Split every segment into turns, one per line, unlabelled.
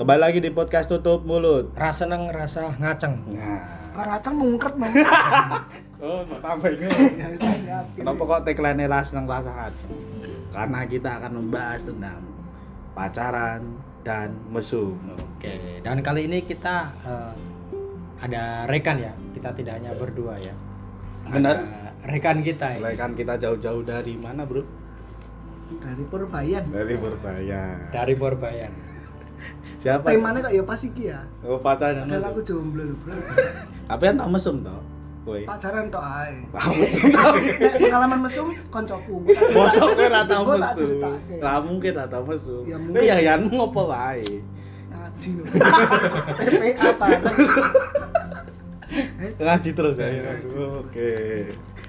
Kembali lagi di podcast tutup mulut.
Rasa nang rasa ngaceng.
Nah,
Racang mungkert man.
oh tambah Kenapa kok tagline ras nang rasa ngaceng? Karena kita akan membahas tentang pacaran dan mesum.
Oke, dan kali ini kita eh, ada rekan ya. Kita tidak hanya berdua ya.
Benar.
Ada rekan kita ya.
Mulai kan kita jauh-jauh dari mana, Bro?
Dari Purbayan.
Dari Purbaya.
dari Borbayan.
Siapa?
Temanya kok ya pas iki ya.
Oh, pacaran dan
Padahal
mesum.
aku jomblo lho, Bro.
Tapi kan tak mesum toh. Kowe.
Pacaran tok ae.
Tak mesum toh.
Nek pengalaman mesum koncoku. Engko tak cerita.
Mosok kowe ra tau
Engko tak
mesum.
ceritake.
Lah mungkin ra tau mesum.
Ya,
Kowe
mungkin.
ya yanmu ngopo wae?
Ngaji lho. TPA apa?
Ngaji terus ya. Oke.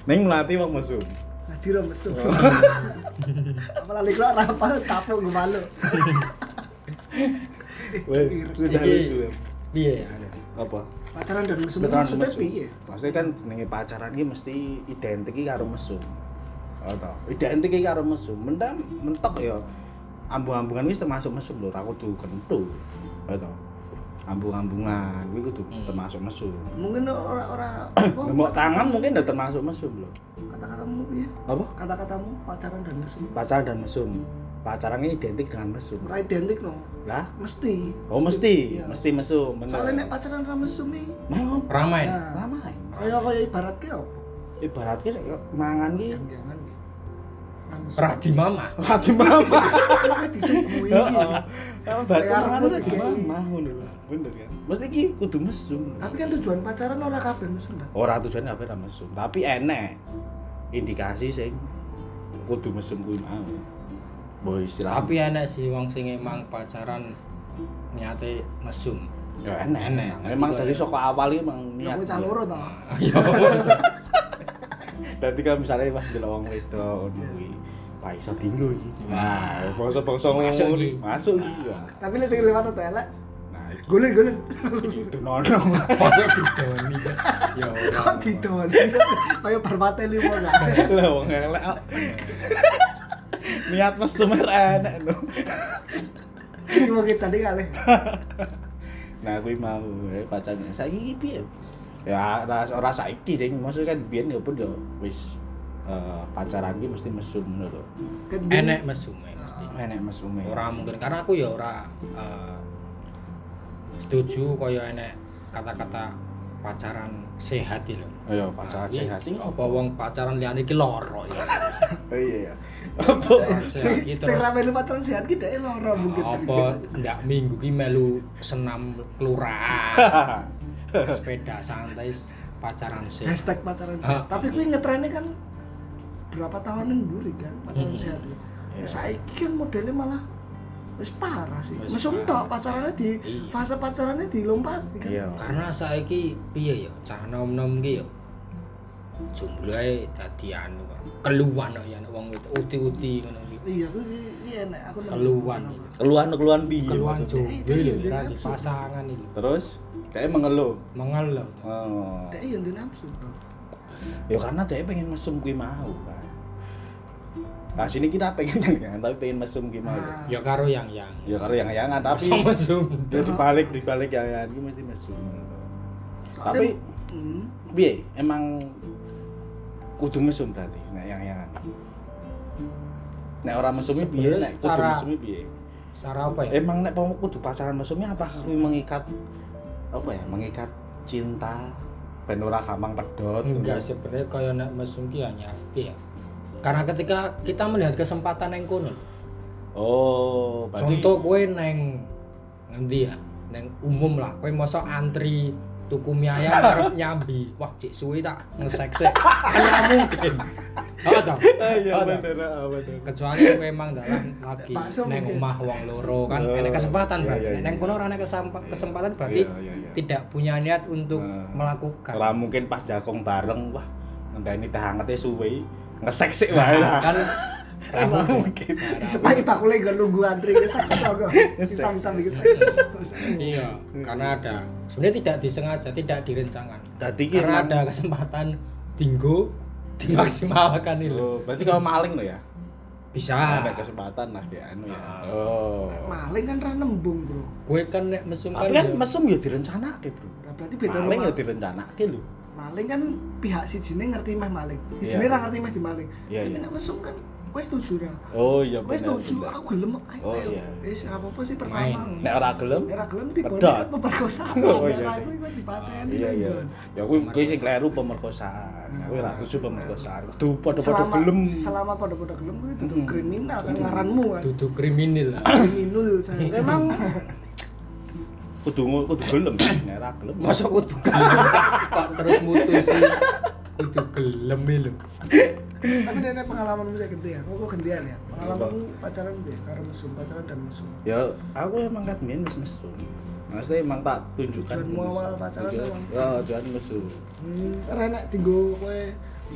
Neng melati wong mesum.
Ngaji ro mesum. Apa lali kok ora apa tapuk gue malu.
Weh, sudah
Iki-
lucu. ya.
Iya ya.
Apa?
Pacaran dan mesum.
Pacaran
Maksudnya
mesum.
piye?
Maksudnya kan jenenge pacaran iki mesti identik iki karo mesum. Oh toh. Identik iki karo mesum. Mendam mentok ya ambung-ambungan wis termasuk mesum lho, ora kudu kentu. Oh toh. Ambung-ambungan kuwi kudu
Hmm.
termasuk mesum.
Mungkin ora-ora
Nembok tangan mungkin udah termasuk mesum lho.
kata-katamu piye?
Apa?
Kata-katamu pacaran dan mesum.
Pacaran dan mesum. Pacaran ini identik dengan mesum.
Ora identik no.
Lah,
Mesti.
oh mesti,
Iya.
mesti mesum, bener.
Soalnya nek pacaran ra mesum iki.
Mau
Ramai.
Nah, oh.
ramai.
kaya kaya ibarat ke opo?
Ibaratnya kayak mangan ki
Jangan-jangan ya.
Radi Mama.
Rati mama.
Kowe disuguhi iki.
Batu
Kayak
mama
aku
rati
lagi.
mama ngono lho. Bener kan? Mesti ki kudu mesum.
Tapi kan tujuan pacaran ora kabeh mesum ta.
ora tujuane apa ta mesum, tapi enek indikasi sing kudu mesum kuwi mau. Boy istilah.
Tapi enak sih wong sing emang pacaran niate mesum.
ya enek.
Enek.
Memang
Tapi
dari
kok-
saka awal iki emang
Ya
niat.
kowe cah loro ta.
Iya.
Dadi kan misalnya pas delok wong wedok ngono kuwi. Wah iso tinggu iki.
Wah.
Wah, bangsa-bangsa
Masuk
ngono
iki.
iki. Masuk iki. wah.
Tapi nek sing lewat ta elek,
Nah, iki-
gulen-gulen.
iki dunono.
Masuk didoni. Ya
Kok gitu?
Allah.
didol. Kaya barmate limo ta.
Lah wong elek. kok. Niat mesum enek lho.
Iki mau kita nih kali.
Nah, aku mau eh, pacarnya. Saiki iki piye? Ya ora ora saiki ding, maksudnya kan biyen ya pun ya wis eh, pacaran iki mesti mesum ngono lho.
Kan bin-
Enek mesum ya, mesti.
Enek mesume.
ora mungkin karena aku ya ora eh, setuju kaya enek kata-kata pacaran sehat gitu. iki lho.
Ayo pacaran
Iya,
sehat
sing apa wong pacaran liyane iki loro ya.
Oh iya ya. Apa?
Sehat
Sing
iki
sing
terus
ra melu pacaran sehat ki dhek loro mungkin.
apa ndak minggu ki melu senam kelurahan, sepeda santai pacaran sehat.
Hashtag pacaran
Ah.
sehat. Tapi kuwi ngetrennya kan berapa tahunan duri kan pacaran
Mm-mm.
sehat. itu.
Iya.
Saiki kan modelnya malah wis parah sih.
Wis
Mesum
parah.
tok pacarannya di
Iya.
fase pacarannya dilompati kan.
Iya.
Karena saiki piye ya cah nom-nom ki ya jomblo ae dadi anu Pak. keluwan kok ya nek wong wedok uti-uti ngono ki.
Iya, aku iya nek aku nemu-
Keluhan.
nemu.
Keluhan-keluhan piye
Keluwan
Iya, maksudnya? iya,
jomblo lho ora di pasangan iki.
Terus kayak mengeluh.
mengeluh
Oh.
Dek yo iya, ndek nafsu.
Ya karena dia pengen mesum kuwi mau kan. Nah, sini kita pengen kan, tapi pengen mesum kuwi mau.
Ah.
ya karo yang yang
Ya karo yang-yangan tapi
sama zoom
Ya dibalik dibalik ya ya ini mesti mesum.
Soalnya-
Tapi-
Hmm.
Piye? Emang kudu mesum berarti nek yang yang. Nek ora mesumi piye
Sebenarnya
nek kudu
secara-
mesumi piye?
secara apa ya
Emang nek pomo kudu pacaran mesumi apa kuwi mengikat apa ya? Mengikat cinta ben ora gampang pedot.
enggak sebenarnya kaya nek mesum ki hanya ya karena ketika kita melihat kesempatan yang kono
Oh, berarti
contoh kue neng nanti ya neng umum lah kue masa antri tuku mie ayam arep nyambi wah cik suwi tak ngesek sek kan nggak mungkin oh tau
Iya
Oh,
bener, ah, bener.
kecuali kue emang dalam lagi
Bakso
neng
mungkin.
omah wong loro kan
Oh,
enek kesempatan
iya,
berarti
iya,
Nek neng
iya.
kono ora enek kesampa- kesempatan berarti
Iya, iya, iya.
tidak punya niat untuk
Nah,
melakukan.
Ora mungkin pas jakong bareng wah ngenteni teh hangete suwe ngesek sik wae lah.
kan
Ora mungkin.
Cepai pakule gak nunggu antri kesek sik aku.
Kesek.
Bisa-bisa dikesek.
iya karena ada Iya, sebenarnya tidak disengaja tidak direncanakan
Dadi ki
karena
emang-
ada kesempatan tinggu dimaksimalkan itu Oh.
Oh, berarti kalau maling lo ya?
Bisa.
ada kesempatan lah ya anu ya.
Ah.
Oh.
Nek Maling kan ra nembung, Bro.
Gue kan nek mesum
Tapi kan
kan ya-
mesum ya direncanake, Bro.
Nah, berarti beda
Paling
rumah.
ya direncanake lho.
Maling kan pihak si jine ngerti meh maling.
Iya.
Si jine ra ngerti meh di maling.
Iya,
Tapi
iya.
nek mesum kan kowe setuju ra?
Oh iya
Kowe
bener.
setuju,
bener.
aku gelem ayo.
Oh,
ayo.
iya.
Wis ra apa-apa sih
Main.
pertama.
Nek ora gelem,
Nek ra gelem dibone
Pedot.
kan pemerkosaan.
Oh,
Nek
iya,
ra
iya.
iku kan dipateni.
Iya iya.
Don.
Ya kuwi kuwi sing kleru pemerkosaan. Kuwi ra setuju pemerkosaan. Kudu padha-padha
Selama
gelem.
selama pada-pada gelem kowe duduk
Mm-mm.
kriminal kan ngaranmu kan.
duduk kriminal lah.
Kriminal saya.
Memang kudu kudu gelem, nek ora gelem.
Masa kudu gelem Cak? kok terus mutusi kudu gelem lho.
Tapi dari pengalaman saya gede ya, kok kok gendean ya? Pengalamanmu pacaran deh, karena mesum, pacaran dan mesum.
Ya aku emang kan biyen wis mesu. Maksudnya emang tak tunjukkan
Tujuanmu
mesu.
awal pacaran
Tujuan-
emang.
Ya, tujuan mesu.
Hmm, karena enak tinggal kowe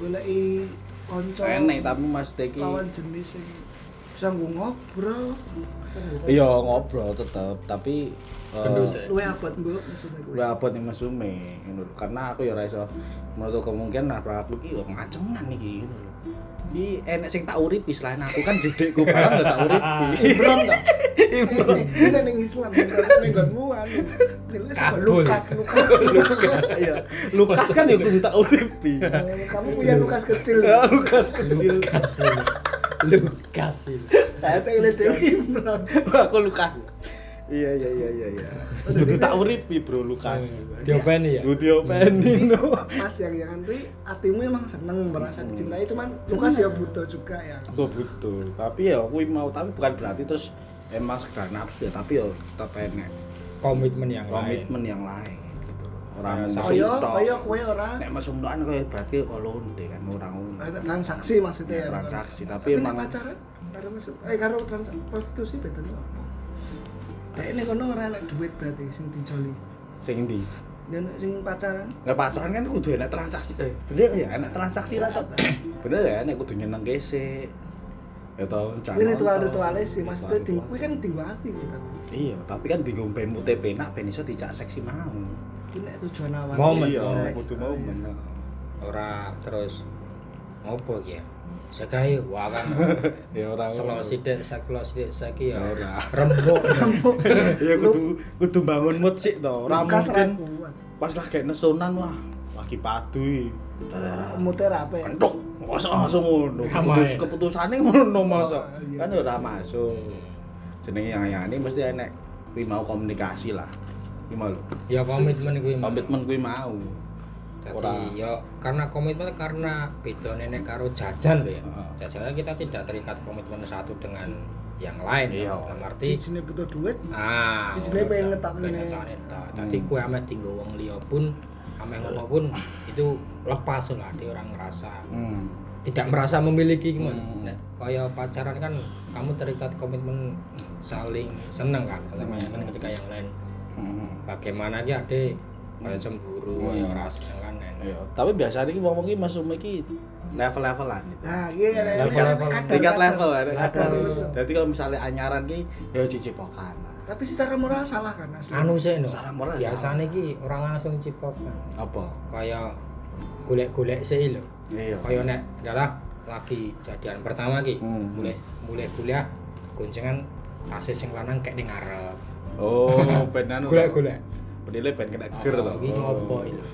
goleki konco
Enak tapi Mas Teki.
kawan jenis sing bisa nggo ngobrol.
Iya ngobrol tetep tapi eh,
Gendus, ya?
Luwe abot mbok mesum iku.
Gue abot nih mas Ume, ngono lho. karena aku ya raiso menurut kemungkinan lah aku ki wong ngacengan iki ngono lho. Iki enek sing tak uripi selain aku kan dedekku barang gak tak uripi. Imron to. Imron.
Ini ning Islam, ning gonmu anu. Nilai sama
Kabul.
Lukas, Lukas.
Iya. Lukas kan ya kudu tak uripi.
Eh, Kamu punya Lukas kecil.
Ya, Lukas kecil.
Lukas. lho. Lukas. lho.
Ada yang lihat Dewi Imran.
aku Lukas. Iya iya iya iya iya. Kudu tak uripi bro Lukas.
Diopeni ya.
Dudu openi no.
Mas yang jangan tuh hatimu emang seneng merasa dicintai cuman Lukas ya butuh juga ya.
Gue butuh. Tapi ya aku mau tapi bukan berarti terus emang sekedar nafsu ya tapi ya tetap enek.
Komitmen yang lain.
komitmen yang lain gitu loh. orang
Kayak
mesum
Kaya
tok.
kaya Iya, kowe ora
nek mesum tokan kaya berarti kalau onde kan orang onde
eh, transaksi maksudnya ya.
transaksi tapi
Tapi
emang
nek pacaran karo mesum eh karo transaksi prostitusi beda lho. Dek ini kono ora enak duit berarti sing dijoli.
sing ndi
Dan sing pacaran
nek pacaran kan kudu enak transaksi eh bener ya enak transaksi lah Tok. bener ya nek kudu nyeneng kese ya tau
ini ritual-ritualnya sih maksudnya di kuwi kan tinggal hati kita.
iya tapi kan bingung ben mute penak ben iso dijak seksi mau
Ini nek tujuan awal.
Momen.
iya
Sek.
kudu mau menang
Ora terus ngopo iki ya? Sekai wah kan.
ya ora
Selo sithik, seklo sithik saiki ya.
Ora.
Rembuk.
ya kudu kudu bangun mood sik to ora
Lukas ra
mungkin
kuat.
pas lagi nesunan wah lagi padu
Muter apa ya?
kentuk masa langsung ngono
Ramai.
keputus keputusannya ngono masa
Oh, iya.
kan ora masuk jenenge yang yang ini mesti enek kuwi mau komunikasi lah kuwi mau lho.
Ya komitmen kuwi. Mas.
komitmen kuwi mau Ora-
Jadi ya karena komitmen karena beda nenek karo jajan loh ya.
Heeh.
Jajannya kita tidak terikat komitmen satu dengan yang lain.
Iya.
Dalam arti
Cicine butuh duit.
ah
Di sini
ora,
pengen ngetakne.
pengen ngetakne tok. Dadi
Hmm.
kue ameh tinggal wong liya pun ameh ngopo pun itu lepas lah dia orang ngerasa
hmm.
tidak merasa memiliki kan.
Hmm.
Nah, kaya pacaran kan kamu terikat komitmen saling seneng kan sama yang lain ketika yang lain
Hmm.
bagaimana aja deh kaya cemburu
Hmm.
kaya rasa kan
Iya. tapi biasanya iki ngomong iki Mas Umi iki level-levelan gitu
Nah, iya
Level- level.
tingkat level ya nek
Kadar
kadar.
terus.
jadi kalau misalnya anyaran ki ya cicipokan
Tapi secara moral salah kan asli.
anu sih no
Salah moral,
biasanya ki orang langsung cipokan
apa
kaya golek-golek sih lho
iya
kaya nek adalah lagi jadian pertama ki
Hmm.
mulai mulai kuliah goncengan tasnya sing lanang kayak ning ngarep
oh penan
golek-golek
penilai ben kena
Oh,
geger to
iki ngopo iki lho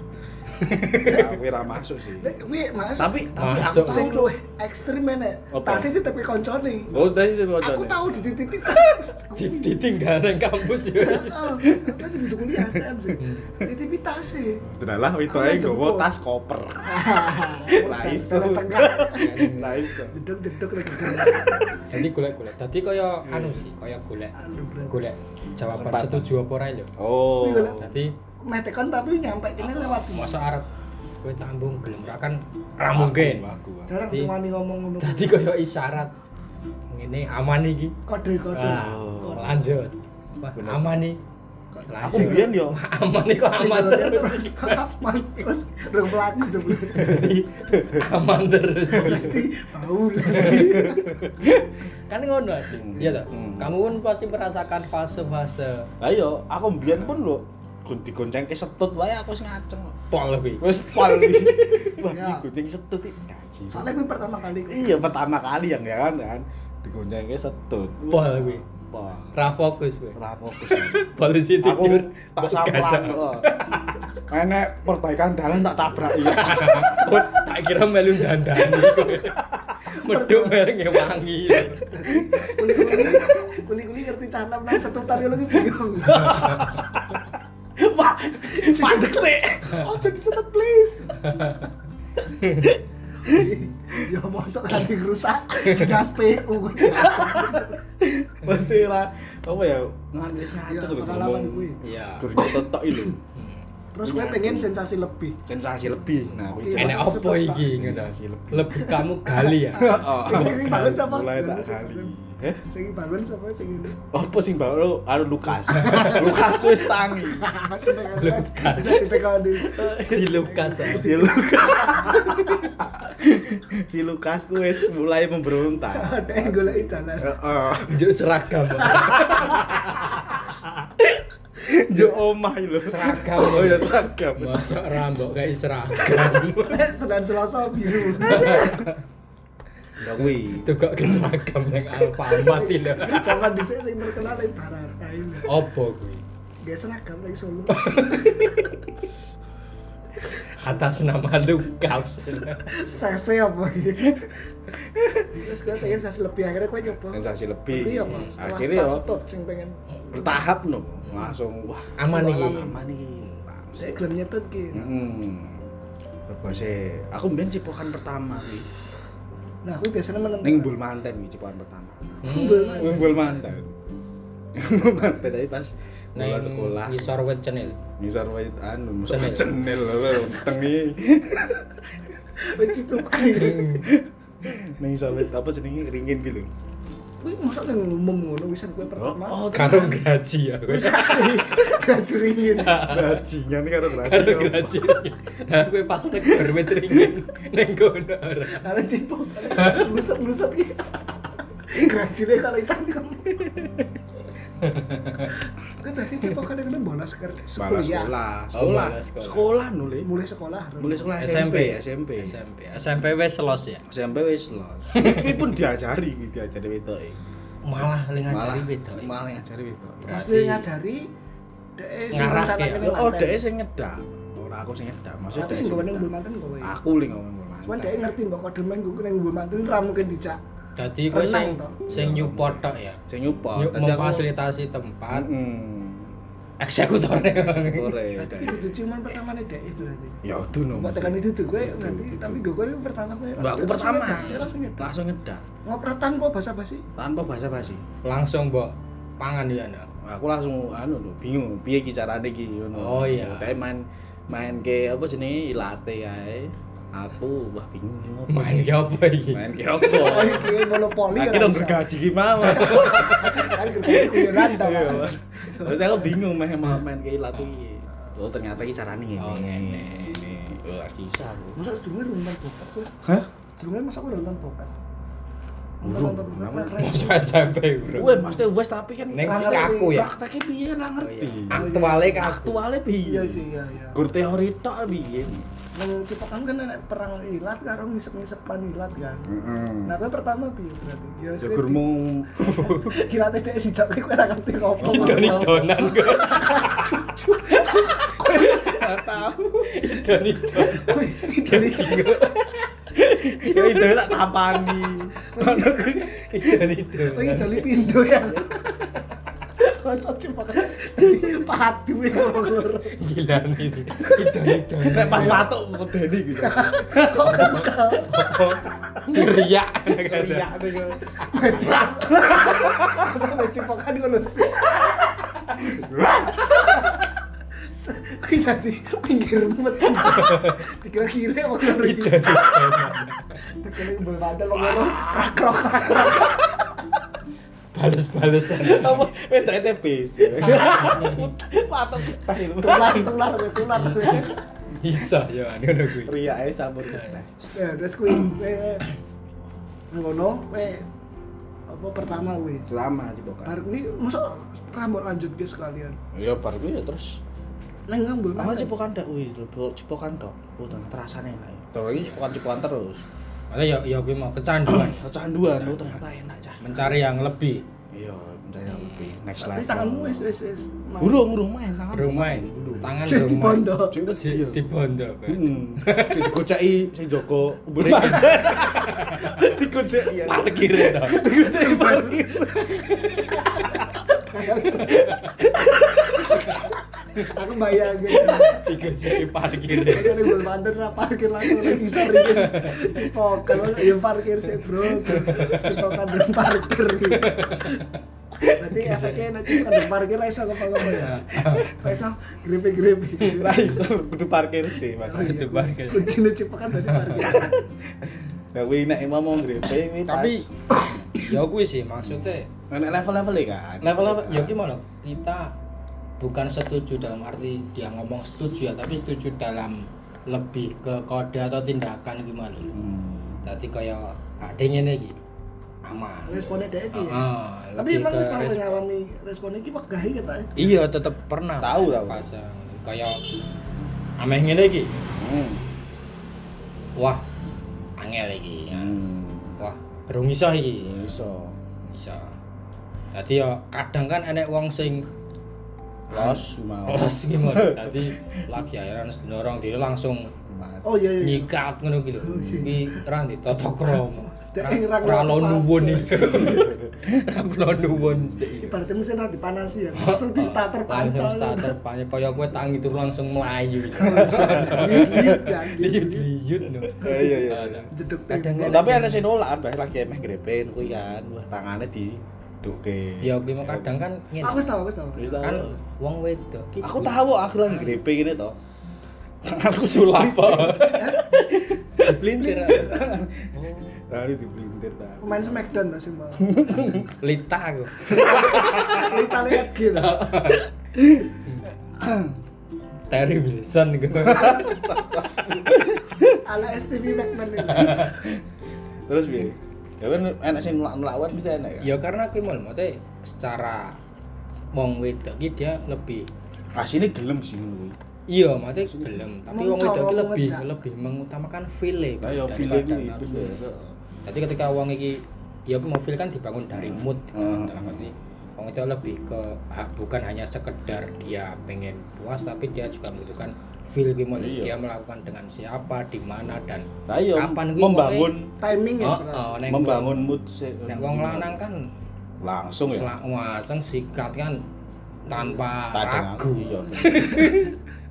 Ya, kuwi ra masuk sih
Nek kuwi mas
tapi tapi
Masuk.
aku
sing luwih ekstrim nek
Apa?
tas itu tapi koncone.
Oh, tadi itu bocor.
Aku tahu dititipi tas.
ditinggal nang kampus ya. yo
Heeh. Aku duduk kuliah STM sih.
Iya.
Dititipi tas sih.
Adalah itu
Aku
ae
jemput.
nggawa tas koper. Lah, iso. Lah iso.
Deduk-deduk lagi.
Nah, jadi golek-golek dadi kaya anu sih kaya golek
Aduh, berarti.
golek jawaban
Hmm. Kesempatan.
setuju apa ora lho
Oh.
Kuwi lho.
dadi
Metekon tapi nyampe kene lewat.
masa arep kowe tambung gelem ra kan ra mungkin
Aku. aku.
Jarang
Dadi-
sing wani ngomong ngono.
dadi kaya isyarat ngene aman iki
Kode-kode.
Wah,
Oh.
lanjut Wah,
Bener.
aman nih
Aku
Lanjut.
biyen yo.
aman nih kok aman terus
terus aman terus udah pelaku jebul
aman terus
berarti bau
kan ngono Adi.
Hmm.
iya toh
Hmm.
kamu pun pasti merasakan fase-fase
Ayo, aku biyen pun lho gun- digonceng ke setut wae aku wis ngaceng.
pol kuwi
Wis pol iki. Wah,
Ya.
iki gonceng setut iki. Gaji.
soalnya gue pertama kali
Iya, pertama kali yang ya kan kan. digoncengke setut.
Pol kuwi.
Pol.
Ra fokus kowe.
Ora fokus.
Polisi
aku
tidur.
tak
kok
samplang
gasak.
kok. Enek perbaikan dalan tak tabrak iya.
Oh, tak kira melu dandani kok. Medhuk bareng ya wangi.
Kuli-kuli, kuli-kuli ngerti canam nang setutan ngono ki bingung. Pak,
Mandek sih.
oh jadi setut please. ya mosok nanti rusak gas PU kuwi.
Mesti ra apa ya nganti
Ya,
ngaceng lho
pengalaman kuwi.
Iya.
Durnya tetok lho.
Hmm.
Terus gue pengen sensasi lebih.
Sensasi lebih. Nah, kuwi
Enak
Enek
jelas.
opo iki ngono.
Sensasi lebih.
Lebih kamu gali ya.
Heeh.
Sing sing sing bangun siapa?
Mulai tak kali. Eh,
Sing bangun siapa sing ini?
apa sing mbak lo? Aduh Lukas. Lukas wis tangi.
Seneng
Belum kan.
kan. Ditekani.
Si Lukas. ya.
Si Lukas. si Lukas ku wis mulai memberontak.
Ada yang golek jalan.
Heeh.
Njuk seragam.
Jo omah lho.
Seragam.
Oh ya seragam.
Masuk rambok kayak seragam.
Senin Selasa biru.
Ya kuwi.
Itu kok ke seragam yang Alfamart ini lho.
Zaman dhisik sing terkenal yang Barata ini.
Opo kuwi?
Gak seragam lagi solo.
Atas nama Lukas.
Sese apa gitu. Iya, Terus gue pengen sese lebih akhirnya gue nyoba.
Sensasi lebih. Nah,
Tapi ya Pak, setelah
Akhirnya Oh, yo
start stop sing pengen.
bertahap no. Langsung wah
Aman iki.
aman iki.
Saya
Langsung.
gelem nyetet
Hmm.
gitu.
Heeh. Bebase. Aku mbiyen cipokan pertama kuwi.
Nah, aku biasanya menentukan.
Ning Bul Manten kuwi cipokan pertama.
Bul Manten.
Ning Bul Manten. Bul Manten tapi pas bola
Neng
sekolah.
Isor Wet Channel.
Misar wait anu musuh
Cenil.
cenil lho tengi.
Mencipluk gitu.
Hmm.
Ning sawit apa jenenge ringin ki lho.
Gue masa yang umum ngono wisan gue pertama.
Oh.
Karo gaji ya kowe.
Gajuringin.
Oh. Bajingan karo bajingan.
Karo gaji. Nah, kowe pas negor wet ringin ning kono ora.
Karena tipe lusut-lusut gitu. Grajile kalau cangkem. Gue berarti tipe kan yang bolos ke
Sekolah,
kuliah.
sekolah,
Oh,
sekolah,
bola
sekolah,
sekolah.
nule.
Mulai sekolah.
Mulai sekolah SMP,
SMP,
SMP.
SMP. SMP wes los ya.
SMP wis los. Iki pun diajari, iki diajari wetoke.
Malah ling ngajari beda. ya.
malah ngajari wetoke.
Mesti ngajari dhek sing
Ngarah
rencana
kayak,
kene
Oh,
manten.
dhek sing ngedak. Ora aku sing ngedak, maksud
Tapi
dhek
sing
sing Ah,
gawe nang
ngedak.
Mbul Manten kowe.
Aku li ngomong bola.
Cuman dhek ngerti mbok kodemen gue nang Mbul Manten ra mungkin dijak.
Dadi kowe
Renang
sing
toh.
sing nyuport tok ya.
Sing nyupa.
Yuk memfasilitasi tempat
Heeh.
eksekutornya.
Sore.
Berarti itu ciuman pertamane dhek berarti.
Ya udah no.
Mbok
mesti.
tekan itu tuh gue
Itu,
berarti
itu.
tapi gue gue pertama gue.
Mbak aku pertama
Langsung nyedak.
langsung ngedak
Ngopratan kok basa-basi.
tanpa basa-basi.
Langsung mbok pangan ya nah.
aku langsung anu lho bingung piye ki carane ki ngono
Oh, iya.
kayak main main ke apa jenenge ilate ae aku wah bingung ki ngopo
Main ki apa iki?
main ke opo
Oh iki monopoli
Iya. lagi dong bergaji ki mau
Kan gue kuyonan tau.
Iya, Mas. terus aku bingung main mau main ke ilate ki oh ternyata ki carane ngene
Oh, ngene.
ngene wah kisah aku
Masa sedurunge lu nonton bokep gue.
hah
Sedurunge masa gue nonton bokep.
Urung,
Nonton
kenapa?
bokep.
Masa SMP bro.
Weh, maksudnya wes tapi kan
Neng
praktek-
Chicago ya?
prakteknya piye lah ngerti
Aktuale kaku.
aktualnya piye
Iya sih, iya iya.
gur teori tok piye
Nang Cipokan kan enak perang ilat karo ngisep-ngisepan ilat kan. Nah, gue pertama piye berarti? Ya wis,
Hmm. Ya
gue
gur
di-
mung
ilatnya e dhek dijak kowe ora ngerti ngopo.
Idoni donan kok.
tahu
Idoni donan.
Kowe
Idoni singgo.
Ya itu tak tampani.
Idoni
kowe
donan.
jali pindo ya. Masa Cipokan jadi padu ya loro.
Gila nih. Idoni donan.
Nek pas patuk medeni gitu.
Kok kental?
Ngeriak.
Iya niku.
Masa kowe Cipokan ngono sih. Kowe tadi pinggir meten. Dikira-kira kok ngono iki.
Iya.
Tekene bol padel kok ngono. Kakrok.
Bales-balesan.
Apa wedok ETB sih. Patuk teh lho.
Tular-tular kowe tular.
Bisa ya ngono kuwi.
Riake campur teh.
Ya, terus kuwi kowe ngono kowe apa pertama kuwi.
Lama sih bukan.
Bar kuwi mosok rambut lanjut ge sekalian.
Ya bar kuwi ya terus.
Nang ngambil
Aku cipokan dak wis lho, cipokan tok. Oh, ternyata terasane enak. Terus iki cipokan-cipokan terus.
Malah ya ya kuwi mau kecanduan.
Kecanduan, oh ternyata enak cah.
mencari yang lebih
Iya, mencari yang
Hmm.
lebih. Next
Tapi
level.
tanganmu wis wis wis. Mau.
Urung, urung main tangan.
bermain tangan
Jadi
bermain
bondo.
Cek wis
Jadi
iya.
dibondo
Heeh. Cek digoceki sing jaga ubur bandar. Digoceki ya.
parkir itu
Digoceki parkir.
Aku bayangin.
tiga sisi parkir
Iya, Ini gue bandar lah parkir langsung lagi sore Cipokan, ya parkir sih bro. Cipokan dan parkir. Nanti efeknya nanti kan di parkir lah iso ngapa-ngapa ya.
Iya.
Iso grepe-grepe.
Ra iso kudu parkir sih, Bang.
Oh, iya.
Di parkir.
Kuncinya cipokan berarti parkir.
Lah kuwi nek emang mau grepe kuwi pas.
tapi ya gue sih maksudnya
nek level-level e kan.
level ya gimana kita bukan setuju dalam arti dia ngomong setuju ya tapi setuju dalam lebih ke kode atau tindakan gimana
Hmm.
jadi kayak ada yang ini gitu aman
Responnya dia iki ya.
Ah,
Tapi
lebih
emang
ke
wis tau
respon.
ngalami responnya iki wegahi kita.
iya tetap pernah
Tahu, tahu.
pasang kayak ameh ngene iki
Hmm.
wah angel iki
Hmm.
wah rung iso iki
Ya iso.
iso dadi ya kadang kan enek wong sing
Los mau.
los gimana dadi lagi airan dorong dia langsung
Oh iya iya.
nyikat ngono iki lho iki ra ditata krama
Dek, ini ra
ra lo
ngelak pas.
nuwun iki ra lo nuwun sih
Ibaratnya mesin rada dipanasi ya. Langsung di starter
langsung
pancol.
starter panjang kaya kowe tangi turu langsung melayu
Gigit kan.
liut liut no
Iya, iya, iya.
Jeduk
Kadang-
tembok.
Oh, Tapi ana sing nolak Bas, lagi emeh grepen kuwi kan. Wah, tangane di duke.
ya kuwi mau kadang kan ngene
Aku Ah, wis tau, aku wis tau.
Wis tau.
kan wong wedok ki-
Aku tahu aku lagi grepe ngene to. Aku
sulap
Blindir.
Oh,
Tadi di blindir ta.
Pemain Smackdown ta sing mau.
lita aku
Lita lihat gitu.
Terry Wilson gitu
Ala STV McMahon ini.
Terus piye? Ya kan enak sing nolak-nolak kan mesti enak ya.
ya karena kuwi mau maksudnya secara wong wedok ki dia lebih
Asine gelem sih ngono kuwi.
Iya, maksudnya gelem, tapi wong
Mencoba
wedok iki lebih
mengejak.
lebih mengutamakan feel e.
Lah ya
daripada
file kuwi
nafsu.
bener.
Jadi ketika wong iki ya aku mau feel kan dibangun dari mood
Hmm.
kan, dalam arti wong itu lebih ke ah, bukan hanya sekedar dia pengen puas tapi dia juga membutuhkan feel gimana
Iya.
dia melakukan dengan siapa, di mana dan
Lah ya
Kapan kuwi
membangun
Timing ya.
oh,
berat.
oh, neng-
membangun mood se-
Nek wong lanang kan
langsung ya.
selak wajeng sikat kan tanpa
Tak ada
ragu.
Iya.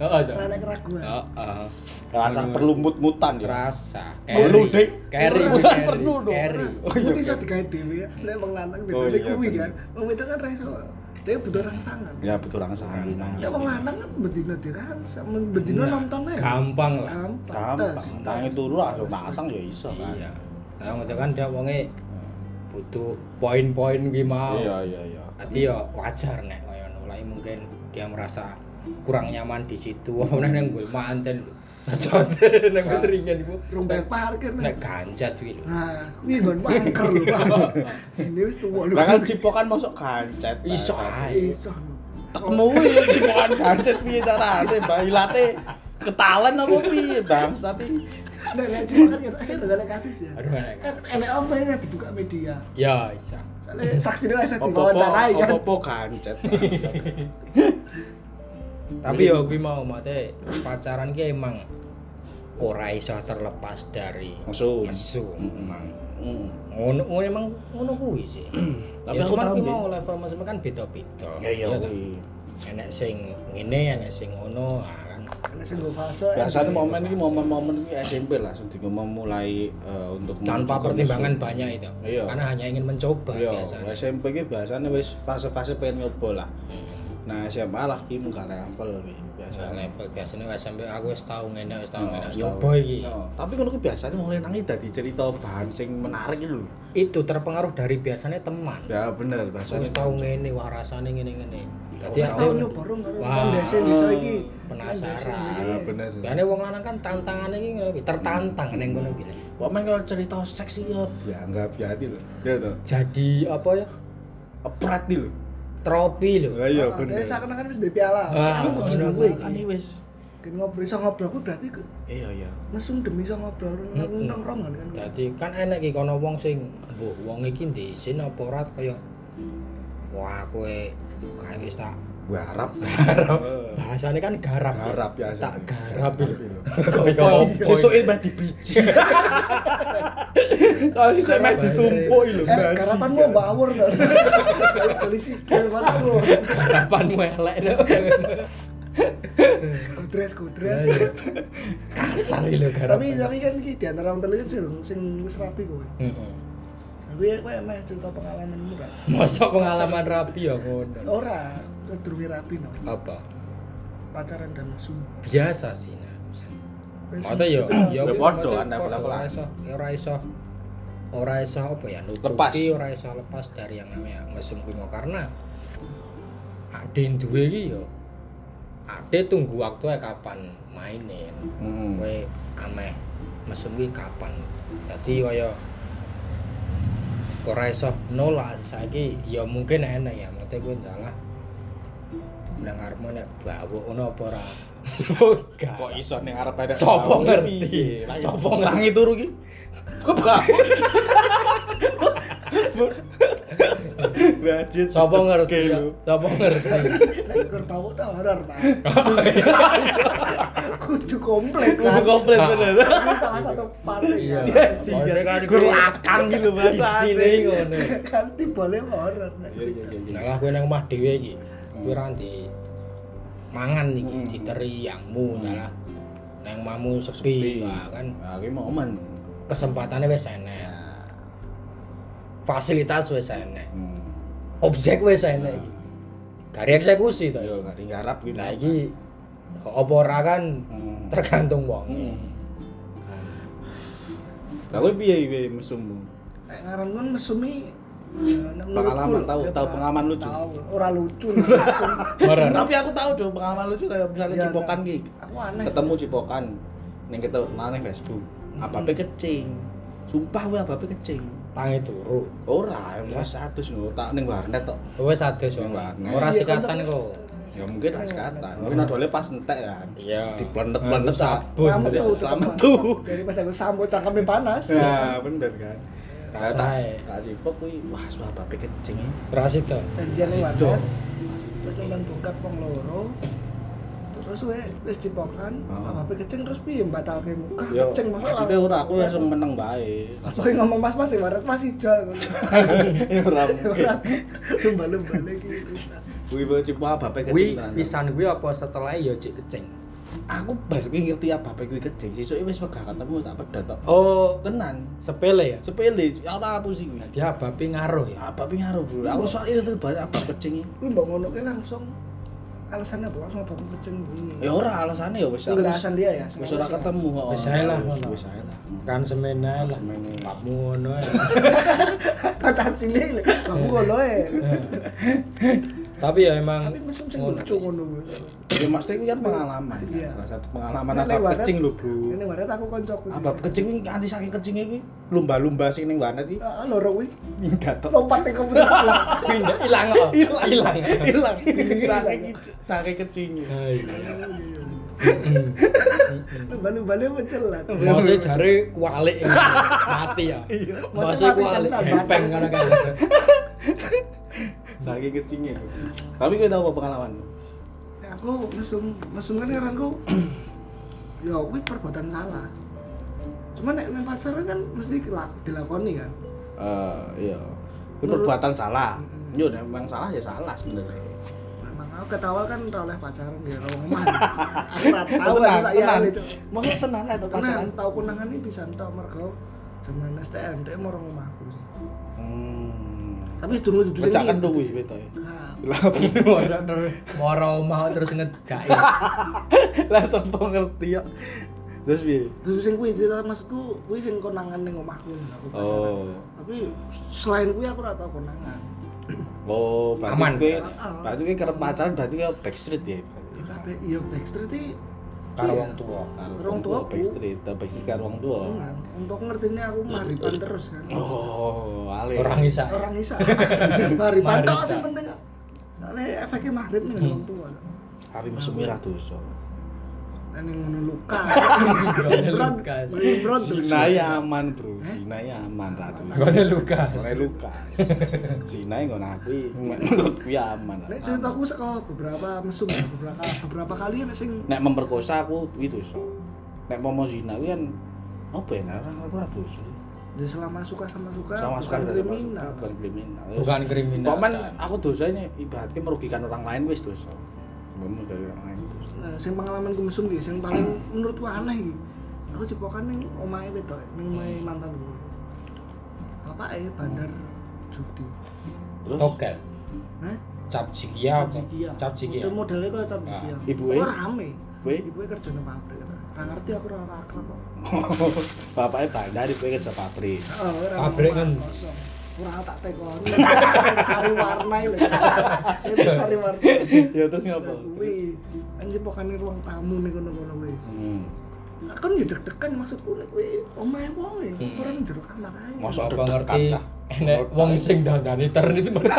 Heeh. toh.
Rana keraguan.
Oh,
Heeh.
Rasa perlu mood-mutan ya.
rasa
Perlu, Dek.
carry
Orang. kan
Bukan perlu dong.
carry
Oh,
Oh
iya,
iya.
iya.
Itu iso digawe dhewe ya. Nek wong lanang
Oh,
bedane
iya,
kuwi
bener.
kan. Wong wedok kan ra iso. Dia butuh rangsangan.
Ya betul langsung.
Ya wong lanang kan bedino dirangsang, bedino
Nah,
nonton aja.
gampang lah
Iya. Gampang,
tes,
tangi
tes,
turu langsung
tes.
pasang ya iso kan.
iya nah ngono kan dia wonge butuh poin-poin gimana
Iya iya iya.
jadi ya wajar nek kaya ngono Lah, mungkin dia merasa kurang nyaman di situ apa nek nang gue manten lho contoh nang gue teringin gue
Rumpel parkir
nek ganjat kuwi lho
Nah, kuwi nggon mangker lho, Pak. Jine wis tuwa lho.
Lah kan cipokan masuk kancet. Pak.
iso ae
iso. lho.
Tekmu ya cipokan kancet piye carane, Mbak Ilate ketalan apa piye bangsat iki.
Nek nek cipokan ya akhir ada kasus ya.
aduh enak
Kan enek apa ini dibuka media.
ya iso
Soalnya
Hmm.
saksi dia rasa
Opo-opo
diwawancarai kan.
opo-opo kancet. bangsat.
tapi ya gue mau mate pacaran ki emang ora iso terlepas dari
Langsung.
nesu emang
Mm.
ngono ngono emang ngono kuwi sih
Tapi
ya
aku
cuman
paham,
kuwi
Bin.
mau level masing kan beda-beda
Ya iya
kan?
kuwi.
enek sing ngene enek sing ngono ah, kan
Nah,
Nek sing nggo fase.
Biasanya momen ini momen-momen ini SMP langsung di memulai eh, untuk menuju
tanpa
ke
pertimbangan
mesum.
banyak itu
Iya.
karena hanya ingin mencoba
Iya,
biasanya
SMP ini biasanya wis fase-fase pengen nyoba lah. Nah, SMA lah ki mung gak level iki
Nah,
biasanya.
level biasanya wes sampe aku wis tau ngene wis tau
Oh,
ngene wis
setahun.
nyoba iki
Oh, Tapi ngono ki biasanya mulai nangi dadi cerita bahan sing menarik iki lho.
itu terpengaruh dari biasanya teman
Ya bener, biasanya.
wis tau ngene wah rasane ngene
Iya,
ngene dadi
Wis tau
aku
nyoba rong karo
Wah.
pondasi desa iki.
Ya
penasaran
bener.
Biasanya wong lanang kan tantangannya iki ngono iki, tertantang neng ngono iki.
Kok main kalau cerita seks iki ya dianggap hati lho. Ya to.
Jadi apa ya?
Prat iki lho.
Tropi lho.
Ya iya
Dia
bener.
seakan-akan wis duwe
Ah,
piala.
Kan
Aku kok seneng
ngono
kuwi
kuwi.
iki.
wis
kan ngobrol iso ngobrol aku berarti ke-
iya iya
mesum demi iso ngobrol
Mm-mm.
nongkrongan kan
Hmm. Dadi kan enek iki kono wong sing mbok wong iki ndisin apa ora kaya wah kowe kae wis tak
garap
garap. Bahasane kan garap. Mas.
garap iya? ya
Tak garap iki.
lho
Kaya e
sesuk meh dibiji kalau sesuk e meh ditumpuk lho
eh karapanmu mbak awur to polisi gel masa lu
harapanmu elek lho.
kudres
Iya,
kudres
Kasar iki lho garap.
tapi tapi kan iki di antara wong telu kan sing sing wis rapi kowe
Heeh.
tapi ya kowe meh cerita pengalamanmu ra
Mosok pengalaman rapi ya ngono.
ora kedurunge rapi no
Apa?
pacaran dan mesum
Biasa sih nah.
Oh,
Kata yo,
Ya
yo kuwi
podo,
kata
anda
podo,
level-levelan.
ora iso, ora iso, ora iso apa ya nutupi,
Lepas.
ora iso lepas dari yang namanya mesum kuwi mau. karena ade yang duwe iki yo. Ade tunggu waktu kapan maine. Kowe ameh mesum kuwi kapan. Dadi kaya ora iso nolak saiki ya mungkin enak ya, mate kowe salah. Nang arepmu nek bawuk ngono apa ora? Gak.
kok iso ning arep ada
Sopo ngerti? Sopo ngerti?
ngerti turu ki Wajit.
Sopo
Oke,
ngerti?
lho.
Sopo ngerti?
nek kur bau ta horor pak kudu komplek
Oh, Kudu
kan
komplit
Ah.
bener.
Ini salah satu partai
Iya.
kan
Soalnya kan
Gur
kuwi
lakang gitu bahasa.
Diksine iki ngono.
kan timbale horor nek
iya,
Nek lah kowe nang omah dhewe iki, kowe ora di mangan iki
Hmm.
diteri yangmu,
Hmm.
lah nang mamu
Iya,
sepi, wah kan
Aku momen.
kesempatannya wis
Ya.
enak, fasilitas wis enak,
Hmm.
objek wis enak iki. Gari eksekusi to.
Ya. Yo gak digarap gitu.
Lah Nah, iki apa ora kan
Hmm.
tergantung wong.
Hmm. Lah kowe piye piye mesummu?
nek ngaran kan mesumi eh,
Pengalaman, tahu- tahu pengalaman lucu.
Tahu, ora lucu lah, mesum.
Nah, Horor.
Tapi aku tahu tuh pengalaman lucu kayak misalnya
Ya,
cipokan ki.
Aku aneh.
Ketemu cipokan ning kita nang Facebook. Abape kecing. Sumpah wae abape kecing.
Tangi turu.
Ora, mas satu ngono tak ning warnet tok.
Wis ades yo.
Wah,
Ora
iya,
sikatan
kan,
kok.
Ya mungkin pas kata, mungkin adole pas entek kan.
Iya.
Diplenet-plenet sabun.
Ramet
Udah
tuh,
selamat
tetep,
tuh.
Pak. Daripada gue sambo cangkeme panas.
Ya, bener kan.
Rasa
Tak-
ae.
Tak cipok kuwi, wah suara bape kecing. ini.
Ora sida.
Janjian ning
Situ.
warnet, terus nonton bokap wong loro. Terus we wis dipokan,
Oh.
apa kecing terus piye mbatalke muka
Yo,
kecing masalah.
maksudnya ora aku ya langsung meneng bae.
Aku yang ngomong mas-mas ya, warnet mas hijau.
Ya ora mungkin.
Ora aku lumba-lumba lagi.
Kuwi bae cipok bape
Kuwi
kecing. tenan.
pisan kuwi apa setelah ya cek kecing.
Aku baru kuwi ngerti abape kuwi kecing. Sesuk wis wegah ketemu tak pedat tok.
Oh,
Tenan.
sepele ya.
Sepele, ora apa sih kuwi.
Jadi abape ngaruh ya.
Abape ngaruh, Bro. Aku soal itu banyak abab kecing. iki.
Kuwi mbok ngono ke langsung alasannya apa langsung bapak kecing bunyi.
Ya ora alasane ya wis.
Enggak alasan dia ya.
Wis ora ketemu kok.
Wis ae lah,
Wis-
ngono.
Wis ae lah.
Kan semene lah.
Hmm. Semene.
Bapakmu ngono ya.
Kacan cilik. Kamu ngono e.
Eh.
Tapi ya emang
Tapi mesum sing
ngono.
lucu ngono.
Ya maksudnya itu kan pengalaman. kan.
Iya.
Salah satu pengalaman
Ini
abab
lewat, kan?
kecing lho, Bro.
Ini warnet aku koncoku. sih.
Abab kecing ini anti saking kecingnya ini lumba-lumba sing ning warnet iki
Ah, loro kuwi.
minggat tok.
Lompat ning komputer sebelah.
Pindah oh. ilang kok. Ilang.
Hilang.
Hilang.
Saking saking kecingnya.
Hai.
Lumba-lumba mencelat.
Mose jare kualik ini. mati ya.
Iya.
Mose
Mose mati
kualik
tenan,
gempeng
mati.
ngono kan.
Saking kecingnya. lho. Tapi kowe tau apa pengalamanmu?
Ya, Aku mesum mesum kan heranku. Ya kuwi perbuatan salah. Cuman nek nang pacaran kan mesti dilak- dilakoni kan.
Eh, iya. Ini
Menurut- Hmm.
perbuatan salah.
Mm-mm.
Yo, memang salah ya salah sebenarnya.
Memang aku ketawal kan ora oleh pacaran di rumah. Aku ora tahu
Aku
kan
tenang,
saya
tenang.
itu.
Mau tenan lah itu pacaran.
Pacaran tau kunangan iki bisa entok mergo zaman STM dhek mau rumah aku.
Hmm.
Tapi sedurunge dudu
Pecah kan tuh wis beto.
Nah,
Lah,
Ora terus moro omah terus ngejak. ya.
lah sapa ngerti ya. Terus piye?
Dudu sing kuwi cerita maksudku kuwi sing konangan ning omahku aku pacaran.
Oh.
Tapi selain kuwi aku ora tau konangan.
Oh, berarti
Aman.
kowe
Heeh.
berarti kowe kerep pacaran berarti kowe backstreet ya. berarti.
Tapi iya Backstreet iki
Karo
iya.
wong tua.
Karo
Orang tua aku.
Oh,
Iya.
backstreet, tapi backstreet karo wong tua.
Enggak, untuk ngertinya aku maripan terus kan.
Oh, ale.
Orang isa.
Orang isa. maripan tok
Maripan.
sing penting.
Hmm.
Soalnya efeknya maghrib nih orang tua.
tapi mesum merah dosa.
ane ngono luka.
Gone
Berat,
luka.
berat terus.
Zina ya aman bro, Zina ya aman ratu.
Gone luka.
Ora Lukas. Zina yang ngono aku menurutku ya aman.
Nek ceritaku saka beberapa mesum ya, beberapa beberapa kali nek sing
Nek memperkosa aku itu so. Nek mau mau zina aku kan apa ya? Nek aku ora dosa.
ya selama suka sama suka,
Sama
Kan bukan
sekali dari
kriminal.
masuk, bukan kriminal.
Bukan kriminal.
Paman
kan.
aku dosa ini ibaratnya merugikan orang lain wis dosa. Ngomong dari orang lain. dosa.
Nah, sing pengalaman ku mesum iki, sing paling menurutku aneh iki. Aku cipokan ning omahe wedok, ning omahe mantan gue. Bapake bandar judi.
Terus
Togel.
Hah?
Cap jikia apa?
Capjikia.
Iya, Cap jikia.
Itu modelnya kok cap jikia.
Ah. Ibuke?
Oh, rame.
kowe
Ibuke kerja nang pabrik. Ora ngerti aku ora ora akrab
Ah,
kok.
bapaknya bandar kowe kerja pabrik.
Heeh, ora
Pabrik
ngomong
kan.
kosong. Ora tak tekoni. Sari warnai lho. Itu sari warna.
ya terus ngapa?
Kuwi anjing pokoknya ruang tamu nih kono-kono kuwi.
Hmm.
Aku kan ya deg-degan maksudku nek kuwi omahe wong e,
Hmm.
ora nang jero kamar ae.
Mosok
Apa
deg-degan,
ngerti?
Cah?
Enek wong sing dandani tern itu medun.